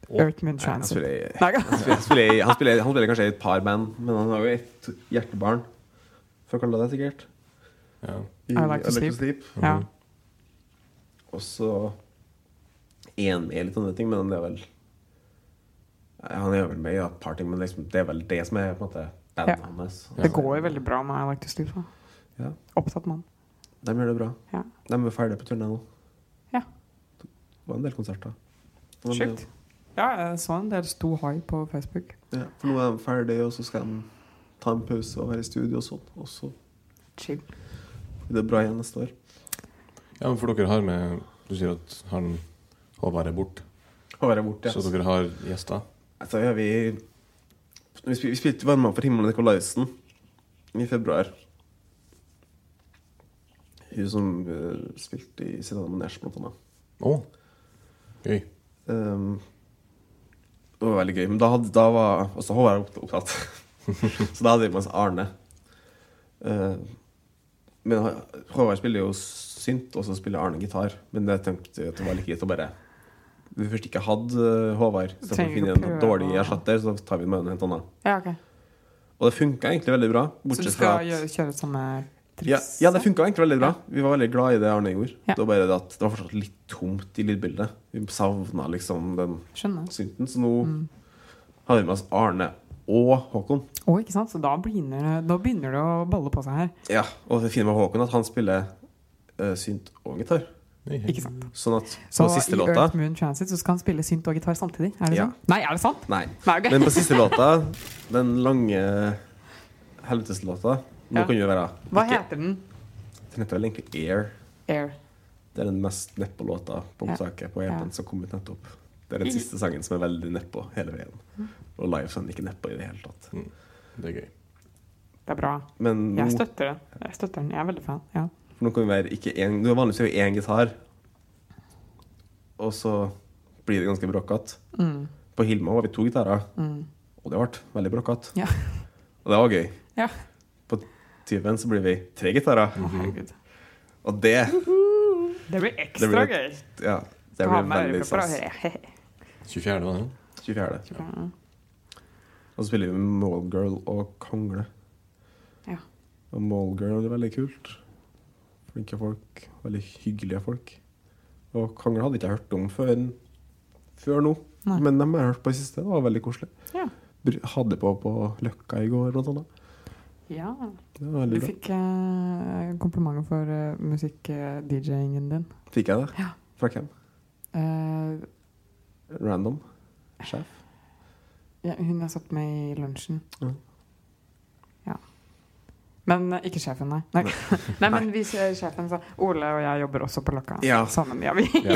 S1: Earth Moon
S3: Nei, altså, han,
S1: Transit.
S3: spiller i,
S1: Nei,
S3: han, spiller, han, spiller i, han, spiller, han spiller kanskje i et par band, men han har jo ett hjertebarn. For å kalle det det, sikkert.
S2: Ja.
S3: I
S1: I Like to
S3: Electro
S1: Sleep.
S3: Sleep.
S1: ja.
S3: Og så er han med i litt andre ting, men han er vel Nei, Han er vel med i ja, Party, men liksom, det er vel det som er på en måte bandet
S1: Ja.
S3: hans. Altså,
S1: Det går jo veldig bra med I Like To Sleep. da.
S3: Ja.
S1: Opptatt mann.
S3: De gjør det bra.
S1: Ja.
S3: De er ferdige på turné nå.
S1: Ja.
S3: Det var en del konserter. Men de-
S1: Sjukt. Ja, jeg så en del sto high på Facebook.
S3: Ja, for nå er de ferdige, og så skal de ta en pause og være i studio og sånn. Og så
S1: Chill.
S3: blir det bra igjen neste år.
S2: ja, men for dere har med Du sier at han Håvard er borte,
S3: Å være borte,
S2: så dere har gjester?
S3: Altså, ja, vi, vi, spil, vi spilte Varma for himmelen Nikolaisen i februar. Hun som eh, spilte i Sedana Manesj, blant annet.
S2: Å! Gøy.
S3: Ehm, det var veldig gøy. Men da, hadde, da var også Håvard opp- opptatt. så da hadde vi med oss Arne. Ehm, men han- Håvard spiller jo synt, og så spiller Arne gitar. Men jeg tenkte jeg at det var like greit å bare Hvis vi først ikke hadde eh, Håvard, så får vi
S1: Trenger
S3: finne
S1: ikke
S3: en
S1: prøve
S3: dårlig
S1: å-
S3: erstatter, så tar vi med en helt annen.
S1: Ja, ok.
S3: Og det funka egentlig veldig bra.
S1: Så du
S3: Bortsett fra
S1: skal gjøre,
S3: at
S1: kjøre samme
S3: ja,
S1: triks?
S3: ja, det funka egentlig veldig bra. Vi var veldig glad i det Arne gjorde.
S1: Ja.
S3: Det var bare det at det var fortsatt litt tomt i lydbildet. Vi savna liksom den
S1: Skjønner.
S3: synten. Så nå
S1: Mm.
S3: har vi med oss Arne og Håkon.
S1: Å, ikke sant? Så da begynner, det- da begynner det å balle på seg her.
S3: Ja, Og det fine med Håkon er at han spiller eh, synt og gitar.
S1: Ikke sant?
S3: Sånn at
S1: Så
S3: på siste
S1: i
S3: låta
S1: Earth Moon Transit så skal han spille synt og gitar samtidig? Er det
S3: Ja.
S1: sånn? Nei, er det sant?
S3: Nei.
S1: Nei, ok.
S3: Men på siste låta, den lange helveteslåta Nå
S1: Ja.
S3: kan jo være
S1: Hva
S3: ikke-
S1: heter den?
S3: Den heter vel egentlig Air.
S1: Air.
S3: Det er den mest nedpå-låta på
S1: Ja.
S3: opptaket på EP-en
S1: Ja. Mm.
S3: som kom ut nettopp. Det er den siste sangen som er veldig nedpå hele veien. Og live er den ikke nedpå i det hele tatt.
S2: Det er gøy.
S1: Det er bra.
S3: Men nå,
S1: Jeg støtter den. Jeg støtter den. Jeg er veldig fan. Ja.
S3: nå kan vi være ikke én Du er vanligvis jo én gitar, og så blir det ganske bråkete.
S1: Mm.
S3: På Hilma var vi to gitarer,
S1: Mm.
S3: og det ble veldig bråkete.
S1: Ja.
S3: Og det var gøy.
S1: Ja.
S3: På Tyven så blir vi tre gitarer,
S1: Å, herregud.
S3: og det
S1: Det blir
S3: Mhm. Det
S1: ekstra
S3: blir-
S1: gøy.
S3: Ja, det
S1: Å ha
S3: blir
S1: med
S3: veldig
S1: ørepropper og
S3: stas.
S1: høre.
S2: 24. var det?
S3: 24.
S1: Ja.
S3: Og så spiller vi Mallgirl og Kongle.
S1: Ja.
S3: Og Mallgirl er veldig kult. Flinke folk. Veldig hyggelige folk. Og Kongle hadde ikke jeg hørt om før, før nå,
S1: Nei.
S3: men dem har jeg hørt på i siste. Det var veldig koselig.
S1: Ja.
S3: Br- Hadde på på Løkka i går, blant annet.
S1: ja.
S3: Det var
S1: Du
S3: veldig bra.
S1: fikk eh, komplimenter for eh, musikk-DJ-ingen din.
S3: Fikk jeg det?
S1: Ja.
S3: Fra hvem?
S1: Eh,
S3: Random? Sjef?
S1: ja, hun jeg satt med i lunsjen.
S3: Ja.
S1: Ja. Men eh, ikke sjefen, nei. Nei, nei men vi, sjefen sa Ole og jeg jobber også på Løkka.
S3: Ja.
S1: Sammen, ja, vi.
S2: Ja.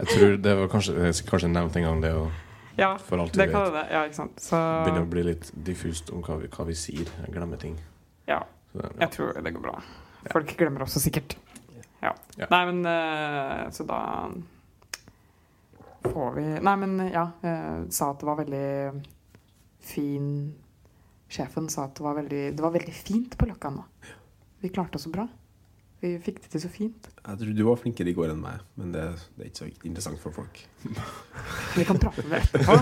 S2: Jeg tror det var kanskje Jeg skal kanskje nevnte en gang det å
S1: ja
S2: for alt vi
S1: det kan
S2: vet
S1: det. Ja, ikke sant. Så
S2: begynner å bli litt diffust om hva vi, hva vi sier. Jeg glemmer ting.
S1: Ja.
S2: Så det, ja.
S1: Jeg tror det går bra. Folk glemmer også sikkert. Ja.
S2: Ja.
S1: Nei, men eh, Så da får vi Nei, men ja. eh, sa at det var veldig fin Sjefen sa at det var veldig, det var veldig fint på Løkka nå. Vi klarte oss så bra. Vi fikk det til så fint.
S3: Jeg tror du var flinkere i går enn meg, men det, det er ikke så interessant for folk.
S1: Vi kan prate om det etterpå.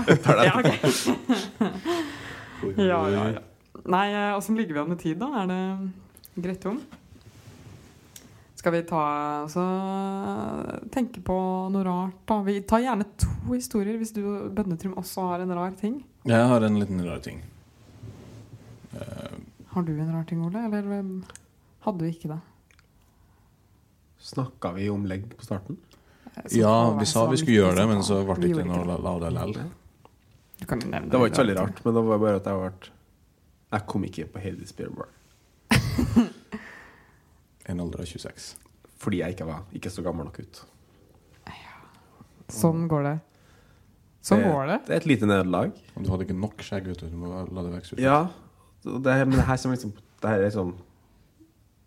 S1: Ja, ok. ja, ja, ja. Nei, eh, åssen ligger vi an med tid, da? Er det greit om? Skal vi ta altså, tenke på noe rart, da? Vi tar gjerne to historier, hvis du Bønnetrym også har en rar ting.
S2: Jeg har en liten rar ting.
S1: Har du en rar ting, Ole? Eller eh, hadde du ikke det?
S3: Snakka vi om legg på starten?
S1: Som
S2: Eh, Ja,
S1: Eh, var-
S2: vi sa
S1: som var
S2: vi skulle gjøre det,
S1: midt i
S2: men så
S1: samtalen.
S2: ble
S1: sånn. Vi
S2: det ikke
S1: gjorde
S2: noe la la det lell.
S1: Du kan jo nevne
S3: Det var ikke så veldig
S1: da.
S3: rart, men det var bare at jeg ble Jeg kom ikke på Hades Beer Bar
S2: En alder av 26.
S3: fordi jeg ikke var ikke så gammel nok ut.
S1: Sånn går det. Sånn
S3: Det-
S1: går det.
S3: Det er et lite nederlag.
S2: Og du hadde ikke nok skjegg, vet du. Du må la det vokse ut.
S3: Ja, og det, her- men det her som liksom Det her er som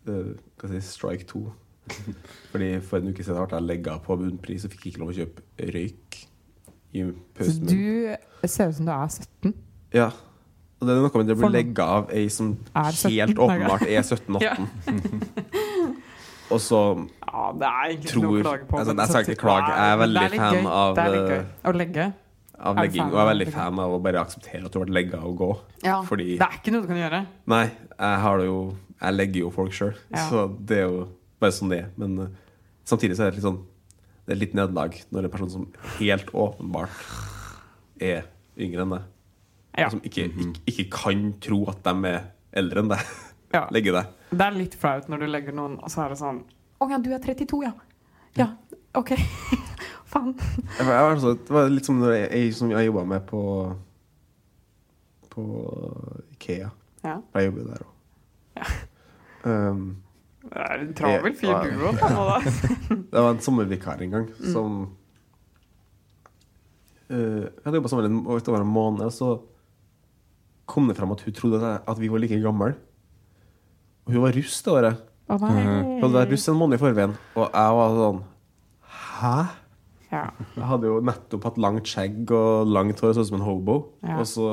S3: eh, Hva skal jeg si strike two. Fordi For en uke siden ble jeg legga på bunnpris og fikk ikke lov å kjøpe røyk i
S1: Så
S3: pausen min.
S1: du ser ut som du er 17.
S3: Ja. Og det er noe med det å
S1: For-
S3: bli legga av ei som
S1: Er 17,
S3: helt åpenbart er 17-18.
S1: Ja.
S3: og så
S1: Ja, det er egentlig ikke
S3: Tror-
S1: noe å klage på.
S3: altså,
S1: men
S3: jeg skal
S1: samtidig-
S3: ikke klage. Jeg er
S1: Nei, men det
S3: veldig
S1: litt
S3: fan
S1: gøy.
S3: av,
S1: Det er litt
S3: eh,
S1: gøy å legge.
S3: av
S1: Er du
S3: legging.
S1: fan
S3: Og jeg er
S1: av
S3: veldig
S1: det?
S3: fan av å bare akseptere at du ble legga av og gå.
S1: Ja,
S3: fordi-
S1: Det er ikke noe du kan gjøre.
S3: Nei, jeg har det jo Jeg legger jo folk sjøl,
S1: Ja.
S3: så det er jo bare sånn det er. Men eh, samtidig så er det litt sånn Det er litt nederlag når en person som helt åpenbart er yngre enn deg,
S1: Ja.
S3: og som ikke, ikke, ikke kan tro at de er eldre enn deg,
S1: Ja.
S3: legger deg.
S1: Det er litt flaut når du legger noen, og så er det sånn Å ja, du er 32, ja. Ja, OK. Faen.
S3: Jeg var- jeg var sånn- Det var litt som når jeg, jeg, som jeg jobba med på På Ikea.
S1: Ja.
S3: Jeg jobber der òg. Um,
S1: Det er en travel fyr
S3: Ja.
S1: du òg, på en måte.
S3: Det var en sommervikar en gang
S1: Mm.
S3: som eh, Jeg hadde jobba sammen med henne over en måned, og så kom det fram at hun trodde at, jeg, at vi var like gamle. Og hun var russ det året.
S1: Å nei.
S3: Hun hadde vært russ en måned i forveien. Og jeg var sånn Hæ?
S1: Ja.
S3: Jeg hadde jo nettopp hatt langt skjegg og langt hår, sånn som en hobo.
S1: Ja.
S3: Og så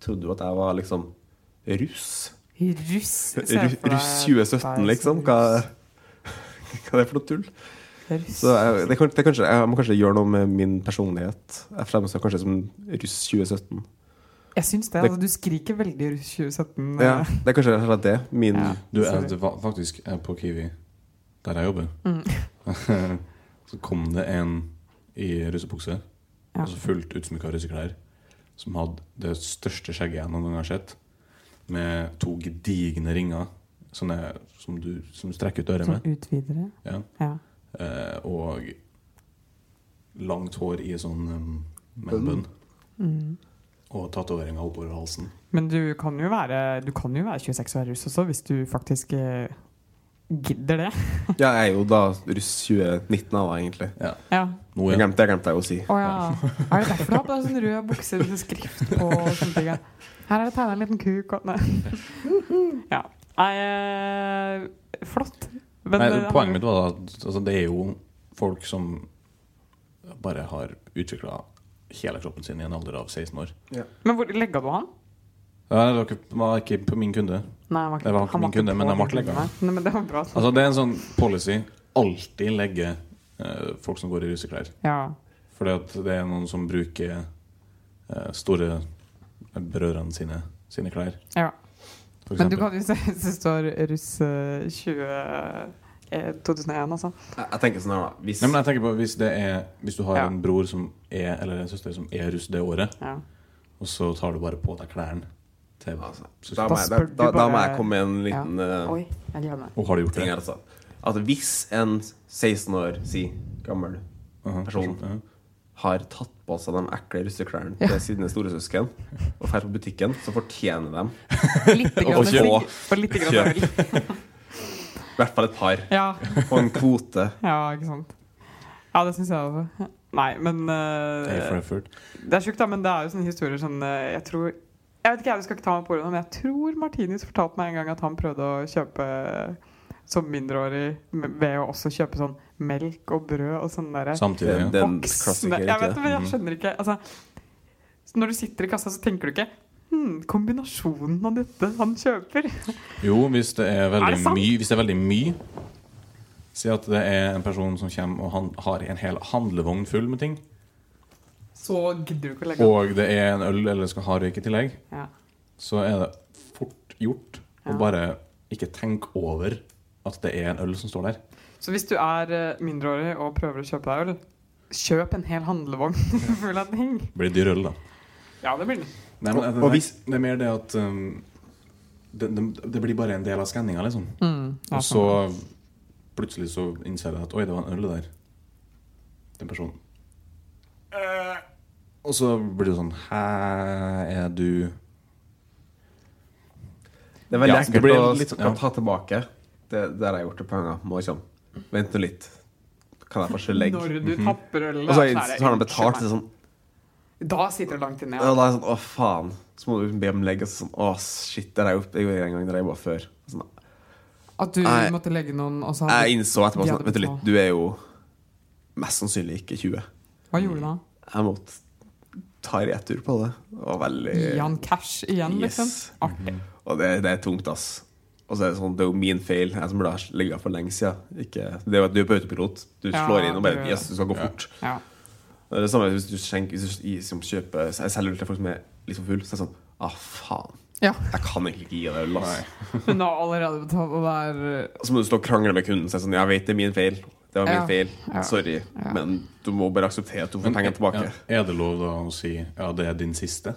S3: trodde hun at jeg var liksom russ.
S1: Russ. ser jeg for deg.
S3: Russ 2017, liksom. Hva, hva er det for noe tull?
S1: Russ.
S3: Så jeg, det, kan- det kanskje, jeg må kanskje gjøre noe med min personlighet. Jeg fremstår kanskje som russ 2017.
S1: Jeg syns det.
S3: Det-
S1: Altså, du skriker veldig russ 2017.
S3: Ja,
S1: eh.
S3: det er kanskje rett og slett det. Min,
S1: Ja.
S2: Du, jeg,
S1: Sorry.
S2: det var faktisk jeg på Kiwi, der jeg jobber,
S1: Mm.
S2: så kom det en i russebukse,
S1: Ja.
S2: altså fullt utsmykka russeklær, som hadde det største skjegget jeg noen gang har sett, med to gedigne ringer sånne, som, du, som du strekker ut øret
S1: Sånn
S2: med,
S1: utvidere.
S2: ja.
S1: Ja.
S2: eh, og langt hår i sånn um, med en
S3: Bønn.
S2: bønn,
S1: Mm.
S2: og tatoveringer oppover halsen.
S1: Men du kan jo være, du kan jo være 26 og være russ også, hvis du faktisk eh, gidder det.
S3: ja, jeg er jo da russ 2019 av deg, egentlig.
S1: Ja.
S2: Nå
S3: Det
S2: igjen.
S3: glemte det glemte jeg å si.
S1: Å ja. Er det derfor du har på deg sånn rød bukse med skrift på? og sånne ting, ja? Her er det tegna en liten kuk og Nei. Ja. Nei, eh, flott. Men,
S2: Nei,
S1: eh,
S2: poenget mitt var da at altså, det er jo folk som bare har utvikla hele kroppen sin i en alder av 16 år.
S1: men hvor legga du han?
S2: Ja, Det var ikke, var ikke på min kunde.
S1: Nei, han var
S2: Det var ikke min kunde,
S1: på
S2: men han
S1: din
S2: ble legget.
S1: kunde. Nei, men det var bra.
S2: Altså Det er en sånn policy. Alltid legge eh, folk som går i russeklær.
S1: Ja.
S2: Fordi at det er noen som bruker eh, store brødrene sine, sine klær.
S1: Ja.
S2: For
S1: Men du
S2: eksempel.
S1: kan jo se hvis det står russ eh, 20, eh, 2001, altså.
S3: Jeg, jeg tenker sånn her, da. Hvis
S2: Nei, men jeg tenker på Hvis, det er, hvis du har
S1: Ja.
S2: en bror som er, eller en søster som er russ det året,
S1: Ja.
S2: og så tar du bare på deg klærne til
S3: altså,
S2: søster
S3: da,
S1: Da
S3: må jeg,
S1: spør du
S3: da, da, da må
S1: bare-
S3: jeg komme med en liten eh,
S1: Oi, jeg gleder meg.
S2: Og har du gjort
S3: ting
S2: det?
S3: her, altså. At hvis en 16 år, si, gammel
S2: Aha,
S3: Person.
S2: Ja.
S3: har tatt på seg de ekle russeklærne
S1: Ja.
S3: til sine storesøsken og drar på butikken, så fortjener de
S1: Litt grann,
S3: Og kjøp.
S1: og litt grann øl.
S3: i hvert fall et par
S1: Ja.
S3: på en kvote.
S1: ja, ikke sant. Ja, det syns jeg også. Nei, men
S2: Pay
S1: eh,
S2: for effort.
S1: Det er sjukt, da, men det er jo sånne historier som eh, jeg tror Jeg vet ikke, jeg skal ikke ta meg på ordet, nå, men jeg tror Martinus fortalte meg en gang at han prøvde å kjøpe som mindreårig m- ved å også kjøpe sånn melk og brød og sånn derre
S2: Samtidig. Ja.
S3: Den, den
S1: voksne-
S3: klassiker,
S1: Jeg
S3: ikke
S1: vet
S3: det?
S1: det, men jeg skjønner ikke altså, så Når du sitter i kassa, så tenker du ikke Hm, kombinasjonen av dette han kjøper
S2: Jo, hvis det
S1: Er
S2: er veldig
S1: det sant?
S2: mye Hvis det er veldig mye Si at det er en person som kommer og han har en hel handlevogn full med ting,
S1: Så gidder du ikke å legge opp.
S2: og det er en øl eller skal ha røyk i tillegg,
S1: Ja.
S2: så er det fort gjort å
S1: Ja.
S2: bare ikke tenke over at det er en øl som står der.
S1: Så hvis du er eh, mindreårig og prøver å kjøpe deg øl, kjøp en hel handlevogn full av ting.
S2: Det blir dyr øl, da.
S1: Ja, det blir det.
S2: Nei, men,
S3: Og- og
S2: det,
S3: hvis-
S2: det er mer det at um, det, det, det blir bare en del av skanninga, liksom.
S1: Mm, ja, sånn.
S2: Og så plutselig så innser jeg at oi, det var en øl der. Den personen. Eh, Og så blir det sånn Hæ, er du
S3: Det er veldig
S2: Ja, så det
S3: ekkelt
S2: blir
S3: å
S2: litt sånn-
S3: skal
S2: ja.
S3: ta tilbake. Det, det har jeg gjort et par ganger. Må liksom Vent nå litt. Kan jeg få skyllegg?
S1: Når du tapper øl
S3: Og så har jeg- så har han betalt det er sånn
S1: Da sitter det langt inne,
S3: Ja,
S1: ja.
S3: da er jeg sånn, å faen Så må du liksom be om legg Og så sånn, å shit, det er jeg opp Jeg gjorde en gang, det er jeg bare før sånn,
S1: At du
S3: Nei.
S1: måtte legge noen og så
S3: Jeg innså etterpå
S1: de
S3: sånn,
S1: hadde
S3: vet du litt
S1: betalt.
S3: Du er jo mest sannsynlig ikke 20
S1: Hva gjorde du da?
S3: Jeg måtte ta retur på det Det var veldig
S1: Gi han cash igjen,
S3: Eh, Yes.
S1: liksom? Artig.
S3: Og det, det er tungt, ass Og så er det sånn, det er jo min feil Jeg som burde ha ligget for lenge siden ikke, Det er jo at du er på autopilot Du
S1: Ja,
S3: slår inn og
S1: du-
S3: bare, yes, du skal gå
S2: Ja.
S3: fort
S1: Ja.
S3: Det er det samme hvis du, skjenker, hvis du i- som kjøper Jeg selger øl til folk som er liksom full Så er det sånn, ah faen
S1: Ja.
S3: Jeg kan egentlig ikke gi deg øl, ass
S2: Nei.
S1: Hun har allerede betalt, og det er eh,
S3: Og så må du stå og krangle med kunden og si sånn Ja, jeg vet det er min feil. Det var min
S1: Ja.
S3: feil.
S1: Ja.
S3: Sorry.
S1: Ja.
S3: Men du må bare akseptere at du får pengene tilbake.
S2: ja, er det lov da å si ja, det er din siste?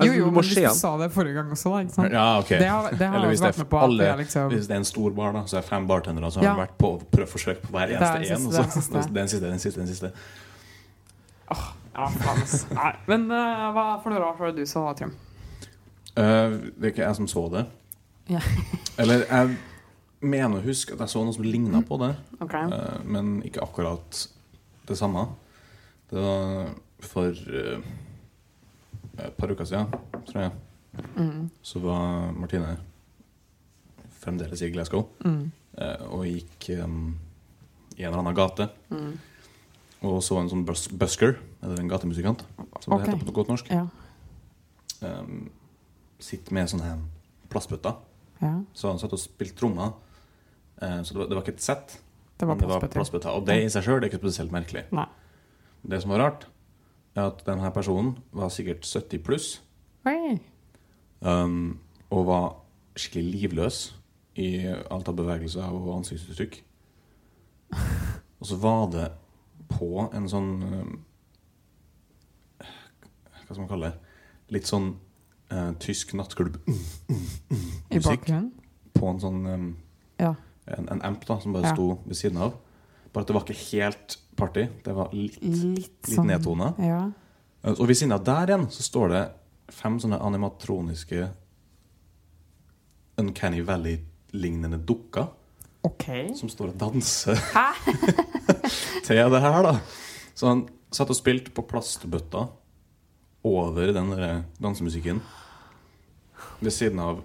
S1: Jo, jo,
S3: du
S1: men
S3: må
S1: hvis
S3: se
S1: du
S3: han.
S1: sa det forrige gang også, da. Ikke sant?
S2: Ja, ok.
S1: Det har, det har
S2: Eller
S1: jeg
S2: hvis
S1: også
S2: det er
S1: vært med på. At
S2: alle-
S1: det er liksom,
S2: Hvis det er en stor bar, da, så er det fem bartendere, så har
S1: Ja.
S2: de vært på prøveforsøk på hver
S1: Det er den
S2: eneste en.
S1: siste,
S2: og
S1: det er den
S2: så-
S1: siste.
S2: Det er den siste, den siste, den siste.
S1: ja, faen, ass. Nei, men eh, hva for noe rart var det du sa, Trym?
S2: Eh, det er ikke jeg som så det.
S1: Ja.
S2: Eller jeg mener å huske at jeg så noe som ligna på det,
S1: Ok.
S2: eh, men ikke akkurat det samme. Det var for eh, et par uker siden, tror jeg,
S1: Mm,
S2: så var Martine fremdeles i Glasgow
S1: mm,
S2: eh, og gikk eh, i en eller annen gate.
S1: mm.
S2: Og så en sånn bus busker, eller en gatemusikant, som
S1: Ok.
S2: det heter på godt norsk.
S1: Ja.
S2: Um, sitter med sånne her plastbøtter.
S1: ja.
S2: Så han satt og spilte trommer. Eh, så det var, det var ikke et sett,
S1: Det var
S2: men det var
S1: plastbøtter.
S2: plastbøtter. Og det i seg sjøl er ikke spesielt merkelig.
S1: Nei.
S2: Det som var rart, er at denne personen var sikkert 70 pluss
S1: Oi.
S2: um, og var skikkelig livløs i alt av bevegelser og ansiktsuttrykk. Og så var det på en sånn um, Hva skal man kalle det? Litt sånn eh, tysk nattklubb
S1: I
S2: Musikk.
S1: bakgrunnen?
S2: på en sånn um,
S1: Ja.
S2: en, en amp da, som bare
S1: Ja.
S2: sto ved siden av. Bare at det var ikke helt party. Det var litt,
S1: Litt
S2: litt
S1: sånn
S2: nedtona.
S1: Ja.
S2: Eh, Og ved siden av der igjen så står det fem sånne animatroniske Uncanny Valley-lignende dukker
S1: OK.
S2: som står og danser
S1: Hæ?
S2: til det her, da. Så han satt og spilte på plastbøtta over den der dansemusikken ved siden av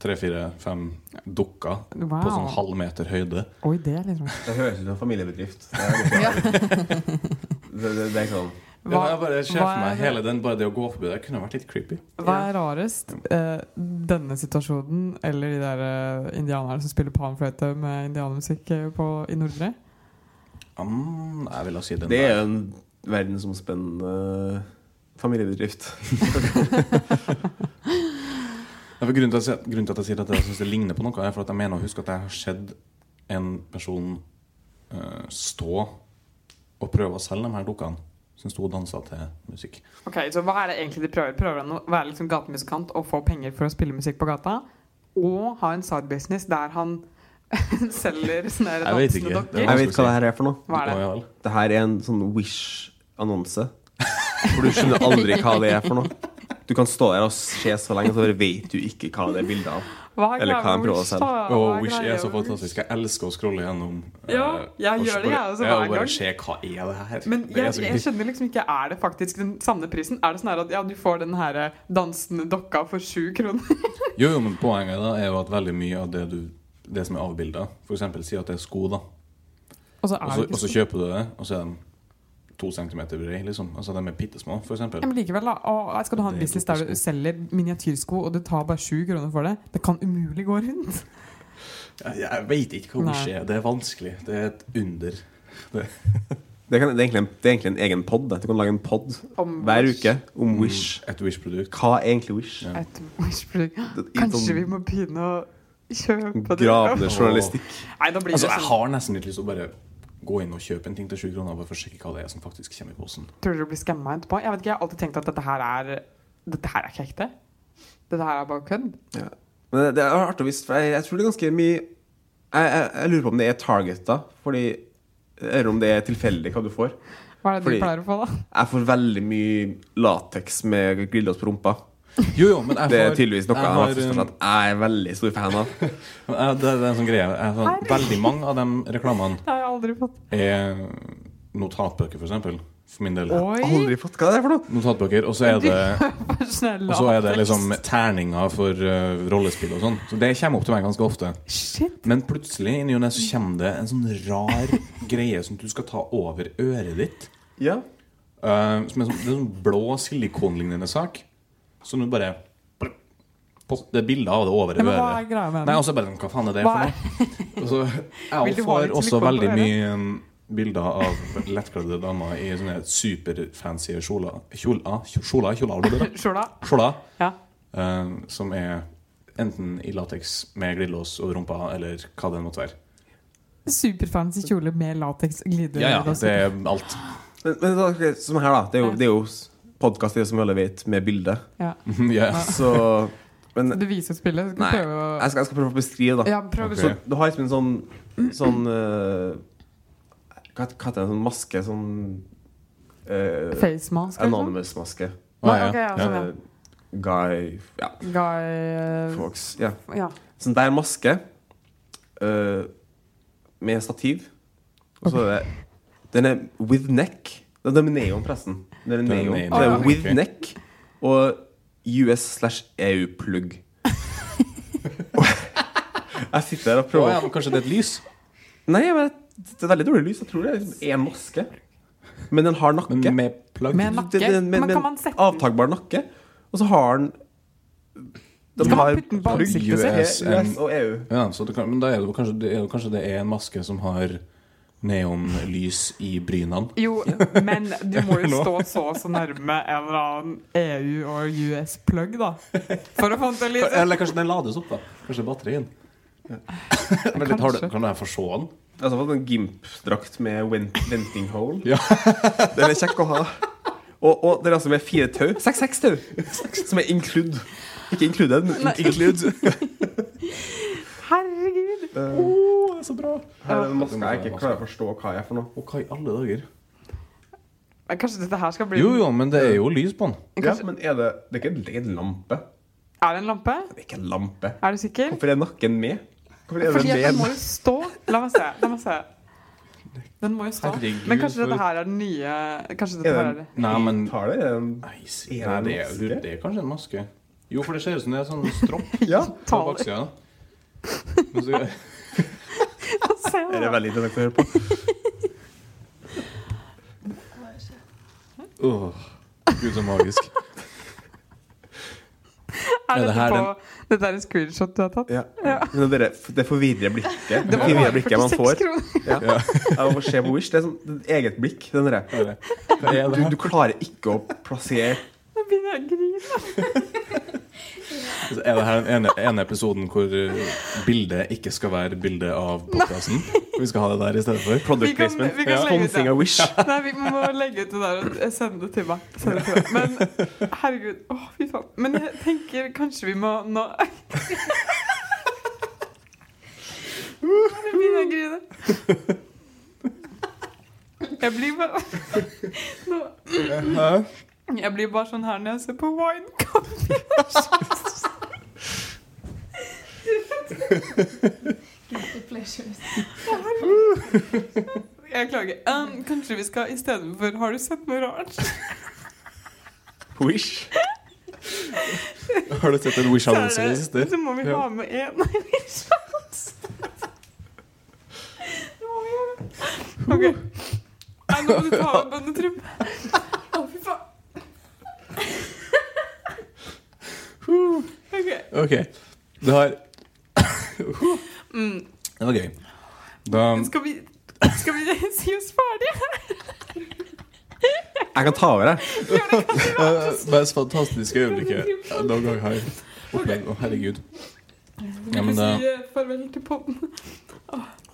S2: tre-fire-fem dukker
S1: Wow.
S2: på sånn halv meter høyde.
S1: Oi, det er liksom
S3: Det høres ut som en familiebedrift. Det er,
S1: Ja.
S3: det, det, det er sånn
S2: Ja, jeg
S1: Hva,
S2: bare ser
S1: hva
S2: for
S1: er
S2: meg
S1: det-
S2: hele den, bare det å gå forbi der kunne vært litt creepy.
S1: hva er rarest? Eh, denne situasjonen eller de der eh, indianerne som spiller panfløyte med indianermusikk eh, på, i Nordre?
S2: Mm, jeg vil da si den
S3: Det er
S2: der.
S3: jo en verdensomspennende familiebedrift.
S2: Ja, for grunnen, til at jeg, grunnen til at jeg sier at jeg synes det ligner på noe, er for at jeg mener å huske at jeg har sett en person eh, stå og prøve å selge de her dukkene. Som sto og dansa til musikk.
S1: Ok, Så hva er det egentlig de prøver? Prøver han å være liksom gatemusikant og få penger for å spille musikk på gata? Og ha en sidebusiness der han selger sånne her
S2: Jeg vet
S1: dansende
S2: ikke. Det
S1: dokker?
S2: var-
S3: Jeg vet hva det her er for noe.
S1: Hva er det?
S2: Å, ja vel.
S3: Det her er en sånn Wish-annonse. For du skjønner aldri hva det er for noe. Du kan stå der og se så lenge, så bare vet du ikke hva det er bilde av.
S1: Hva er
S3: Eller hva
S1: greia
S3: han
S1: med
S3: prøver å
S1: Wish,
S3: selge.
S1: da?
S2: Og
S1: Hva er
S2: Wish
S1: greia
S2: er så
S1: med Wish?
S2: fantastisk. Jeg elsker å scrolle gjennom. eh,
S1: Ja, jeg
S2: og
S1: gjør det,
S2: bare-
S1: jeg også,
S2: ja,
S1: hver gang.
S2: Bare se hva er det her.
S1: Men
S2: Det er
S1: jeg,
S2: så
S1: jeg
S2: gøy.
S1: skjønner liksom ikke Er det faktisk den samme prisen? Er det sånn her at ja, du får den her dansende dokka for sju kroner?
S2: Jo, jo, men poenget da er jo at veldig mye av det, du, det som er avbilda, f.eks. si at det er sko, da.
S1: Og så
S2: Og
S1: er
S2: så,
S1: det
S2: og så
S1: ikke
S2: kjøper du det, liksom- og så er de to centimeter brede, liksom. Altså de er bitte små, for
S1: ja,
S2: eksempel.
S1: men likevel, da. Å, skal du ha en
S2: Det er
S1: business der du
S2: dokkersko.
S1: selger miniatyrsko, og du tar bare sju kroner for det? Det kan umulig gå rundt.
S2: Jeg, jeg veit ikke hva som
S1: Nei.
S2: skjer. Det er vanskelig. Det er et under.
S3: Det, kan, det, er egentlig en, det er egentlig en egen pod. Du kan lage en pod
S1: Om
S3: hver uke om Wish.
S2: Et Wish-produkt.
S3: Hva er egentlig Wish?
S2: Ja.
S1: Et Wish-produkt.
S3: Det er
S1: Kanskje
S3: sånn
S1: vi må begynne å kjøpe det?
S3: Gravende journalistikk.
S1: Nei, da blir
S2: Altså,
S1: det
S2: jeg
S1: sånn
S2: har nesten litt lyst til å bare gå inn og kjøpe en ting til sju kroner, bare for å sjekke hva det er som faktisk kommer i posen.
S1: Tror du du blir skamma etterpå? Jeg vet ikke, jeg har alltid tenkt at dette her er Dette her er ikke ekte. Dette her er bare kødd.
S3: Ja. Men det- det er artig å vise, for jeg, jeg tror det er ganske mye jeg, jeg, jeg lurer på om det er targeta, fordi Eller om det er tilfeldig hva du får.
S1: Hva er det du
S3: Fordi-
S1: pleier å få, da?
S3: Jeg får veldig mye lateks med grillås på rumpa.
S2: Jo, jo, men jeg
S3: Det er
S2: får-
S3: tydeligvis
S2: jeg
S3: noe jeg, har,
S2: har, um,
S3: forstått at jeg er veldig stor fan av.
S2: Ja, Det er en sånn greie. Jeg, har sånn, veldig mange av de reklamene
S1: Det har jeg aldri fått.
S2: er notatbøker, for eksempel. for min del.
S1: Oi!
S3: Aldri fått Hva er det for noe?
S2: Notatbøker. Og så er det,
S1: Personell
S2: og så er det
S1: latex.
S2: liksom terninger for eh, rollespill og sånn. Så det kommer opp til meg ganske ofte.
S1: Shit!
S2: Men plutselig inni og ne så kommer det en sånn rar greie som du skal ta over øret ditt.
S3: Ja.
S2: Eh, som er sånn, det er sånn blå silikonlignende sak. Som du bare Post- Det er bilder av det over
S1: Ja, men hva
S2: øret.
S1: er greia med
S2: Nei,
S1: den?
S2: og så bare sånn, Hva faen er det
S1: Hva
S2: for
S1: er-
S2: noe? Og så,
S1: Vil
S2: jeg
S1: du ha
S2: får
S1: litt
S2: også
S1: silikon på
S2: veldig
S1: øret?
S2: mye um, bilder av lettkledde damer i sånne superfancy kjoler Kjoler? Kjoler? kjoler, kjoler,
S1: Skjorta?
S2: kjoler
S1: Ja.
S2: eh, som er enten i lateks med glidelås over rumpa, eller hva det måtte være.
S1: Superfancy kjole med lateks glidelås.
S2: Ja, ja, det er alt.
S3: Men, men da, ok, som her, da. Det er jo, det er jo podkast, som vi alle vet, med bilde.
S1: Ja.
S2: Ja, ja.
S3: Så Men
S1: Du viser spillet. Skal
S3: Nei,
S1: du prøve å
S3: jeg skal, jeg skal prøve å beskrive, da.
S1: Ja, prøv å
S2: Ok.
S3: Så du har liksom en sånn Sånn eh, Hva hva heter det? En sånn maske? Sånn eh,
S1: Face mask, liksom?
S3: Anonymous-maske.
S1: Nei,
S2: Ah,
S1: ok, ja,
S2: ja.
S1: sånn, ja.
S3: Eh, Guy Ja,
S1: Guy
S3: folks. Ja.
S1: eh, Ja.
S3: Sånn der maske eh, med stativ. Og så er det Den er with neck. Den den er neon, forresten. Den er
S2: Den er
S3: neon.
S2: neon.
S3: Så det er
S1: Ah,
S3: with
S2: ok.
S3: neck og US slash E EU-plugg. jeg sitter her og
S2: Å,
S3: prøver
S2: ja, men kanskje det er et lys?
S3: Nei, men det er veldig dårlig lys. Jeg tror det er liksom én maske. Men den har nakke.
S2: Men med plagg?
S1: Med nakke?
S3: Det- det-
S1: Men kan man sette den?
S3: Avtagbar nakke. Og så har den de
S1: Skal man
S3: har
S1: putte den på
S3: plugg,
S1: ansiktet sitt?
S3: US, US og E EU.
S2: Ja, så det kan, men da er det, jo kanskje, det er jo kanskje det er en maske som har neonlys i brynene.
S1: Jo, men du må jo stå så og så nærme en eller annen EU- og US-plugg, da. For å få den til å lyse.
S2: Eller kanskje den lades opp, da. Kanskje det er batterien. Men litt, har du,
S1: Kanskje.
S2: kan jeg få se den?
S3: Altså fått en Gimp-drakt med wen- venting hole.
S2: Ja.
S3: Den er kjekk å ha. Og, og det er altså med fire tau. Seks-seks tau! Som er include. Ikke included, men
S1: Nei.
S3: include.
S1: Herregud!
S3: Eh,
S2: Oh, det er så bra!
S3: Her er en maske jeg ikke klarer å forstå hva jeg er for noe.
S2: Og hva i alle dager?
S1: Men Kanskje dette her skal bli
S2: Jo, jo, men det er jo lys på den.
S3: Ja, men er det, det er ikke det er en lampe.
S1: Er det en lampe?
S3: Det er ikke en lampe.
S1: Er du sikker?
S3: Hvorfor er nakken med? Hvorfor er
S1: Fordi at
S3: den
S1: den må
S3: med?
S1: jo stå. La meg se. La meg se. Den må jo stå.
S2: Herregud,
S1: Men kanskje
S2: for-
S1: dette her er den nye Kanskje dette
S3: Er det
S1: her er
S3: en
S1: det
S2: Nei, men
S3: Tar det?
S2: Nei, s-
S3: Er det
S2: nei, det,
S3: en
S2: er,
S3: maske?
S2: det er kanskje en maske. Jo, for det ser ut som det er sånn stropp
S3: Ja.
S2: på
S1: taler.
S2: baksida. Men så-
S1: Se
S3: Det er
S1: da.
S3: veldig interessant å høre på.
S2: Åh, Gud, så magisk.
S1: Er
S2: Er det
S1: dette
S2: her
S1: på
S2: den-
S1: Dette er en screenshot du har tatt?
S3: Ja. Men det, er- det forvirrer blikket. Det
S1: bare
S3: forvirrer blikket man
S1: 46
S3: får.
S1: kroner.
S3: Ja. Jeg må se på Wish. Det er sånn det er et eget blikk. Den derre
S2: Hva er det? Hva er
S3: du,
S2: det?
S3: du klarer ikke å plassere
S1: Nå begynner jeg å grine.
S2: Altså, Er det her den ene, ene episoden hvor uh, bildet ikke skal være bilde av podkasten? Vi skal ha det der i stedet for?
S3: product
S1: Vi kan-
S3: placement.
S1: vi kan
S3: Ja.
S1: slenge ut
S3: Sponsing
S1: det.
S3: av Wish.
S1: Nei, vi må legge ut det der og sende det til meg. Sende det til meg. Men herregud. Å, fy faen. Men jeg tenker kanskje vi må nå Nå begynner jeg å grine. Jeg blir bare Nå Jeg blir bare sånn her når jeg ser på Wine Coffee.
S4: Guilty pleasures.
S1: Jeg klager. Um, kanskje vi skal istedenfor Har du sett noe rart?
S3: På Wish.
S2: Har du sett en
S1: Så,
S2: Wish-annonse i det
S1: er
S2: siste?
S1: det, så må vi
S2: Ja.
S1: ha med en Wish-annonse. Det må vi gjøre. Ok. Nei, nå må du ta med bønnetrump. Å, fy faen. Ok.
S2: OK. Det har
S1: Mm.
S2: Det var gøy. Da
S1: Skal vi skal vi si oss ferdige?
S3: Jeg kan ta over, jeg.
S2: uh, Mest fantastiske øyeblikket jeg noen gang har opplevd. Å, herregud. Ja,
S1: Vil
S2: men
S1: du
S2: da-
S1: si eh, farvel til podden?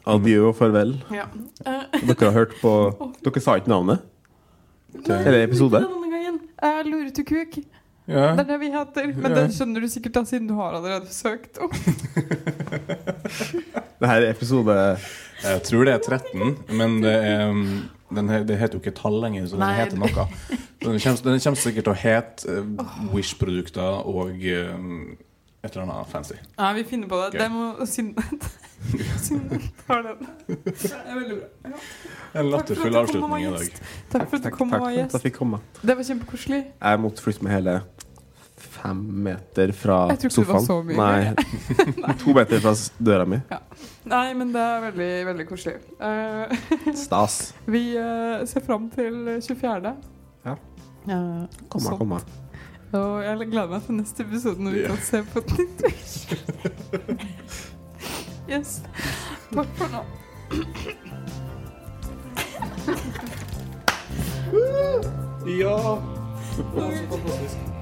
S3: Adjø og farvel.
S1: Ja. Eh,
S3: Dere har hørt på Dere sa ikke navnet.
S2: Det-
S3: Er det episode?
S1: Denne gangen. Eh, Luretukuk.
S2: Ja.
S1: Det er det vi heter. Men den skjønner du sikkert da, siden du har allerede søkt. opp.
S3: Det her er episode
S2: Jeg tror det er 13, men det, er, um, den he, det heter jo ikke tall lenger, så den
S1: Nei.
S2: heter noe. Den kommer, den kommer sikkert til å hete eh, Wish-produkter og um, Et eller annet fancy.
S1: Nei, vi finner på det.
S2: Gøy.
S1: Det må Synnet Synnet har den. Det er veldig bra. Ja.
S2: En
S1: Takk for at du kom og
S2: latterfull
S1: var
S2: avslutning i
S1: gjest.
S2: dag.
S1: Takk for at du kom og var
S3: for at jeg
S1: gjest.
S3: fikk komme.
S1: Det var kjempekoselig.
S3: Jeg måtte flytte meg hele fem meter fra
S1: Jeg tror ikke det var
S3: sofaen.
S1: så mye.
S3: Nei, to meter fra s- døra mi.
S1: Nei, men det er veldig, veldig koselig. Eh,
S3: Stas.
S1: vi eh, ser fram til 24.
S3: Ja.
S1: Eh,
S3: Komma,
S1: så-
S3: komma.
S1: Og jeg gleder meg til neste episode når vi
S2: Ja.
S1: kan se på et nytt Yes. Takk for nå.
S2: Ja! Det var så fantastisk.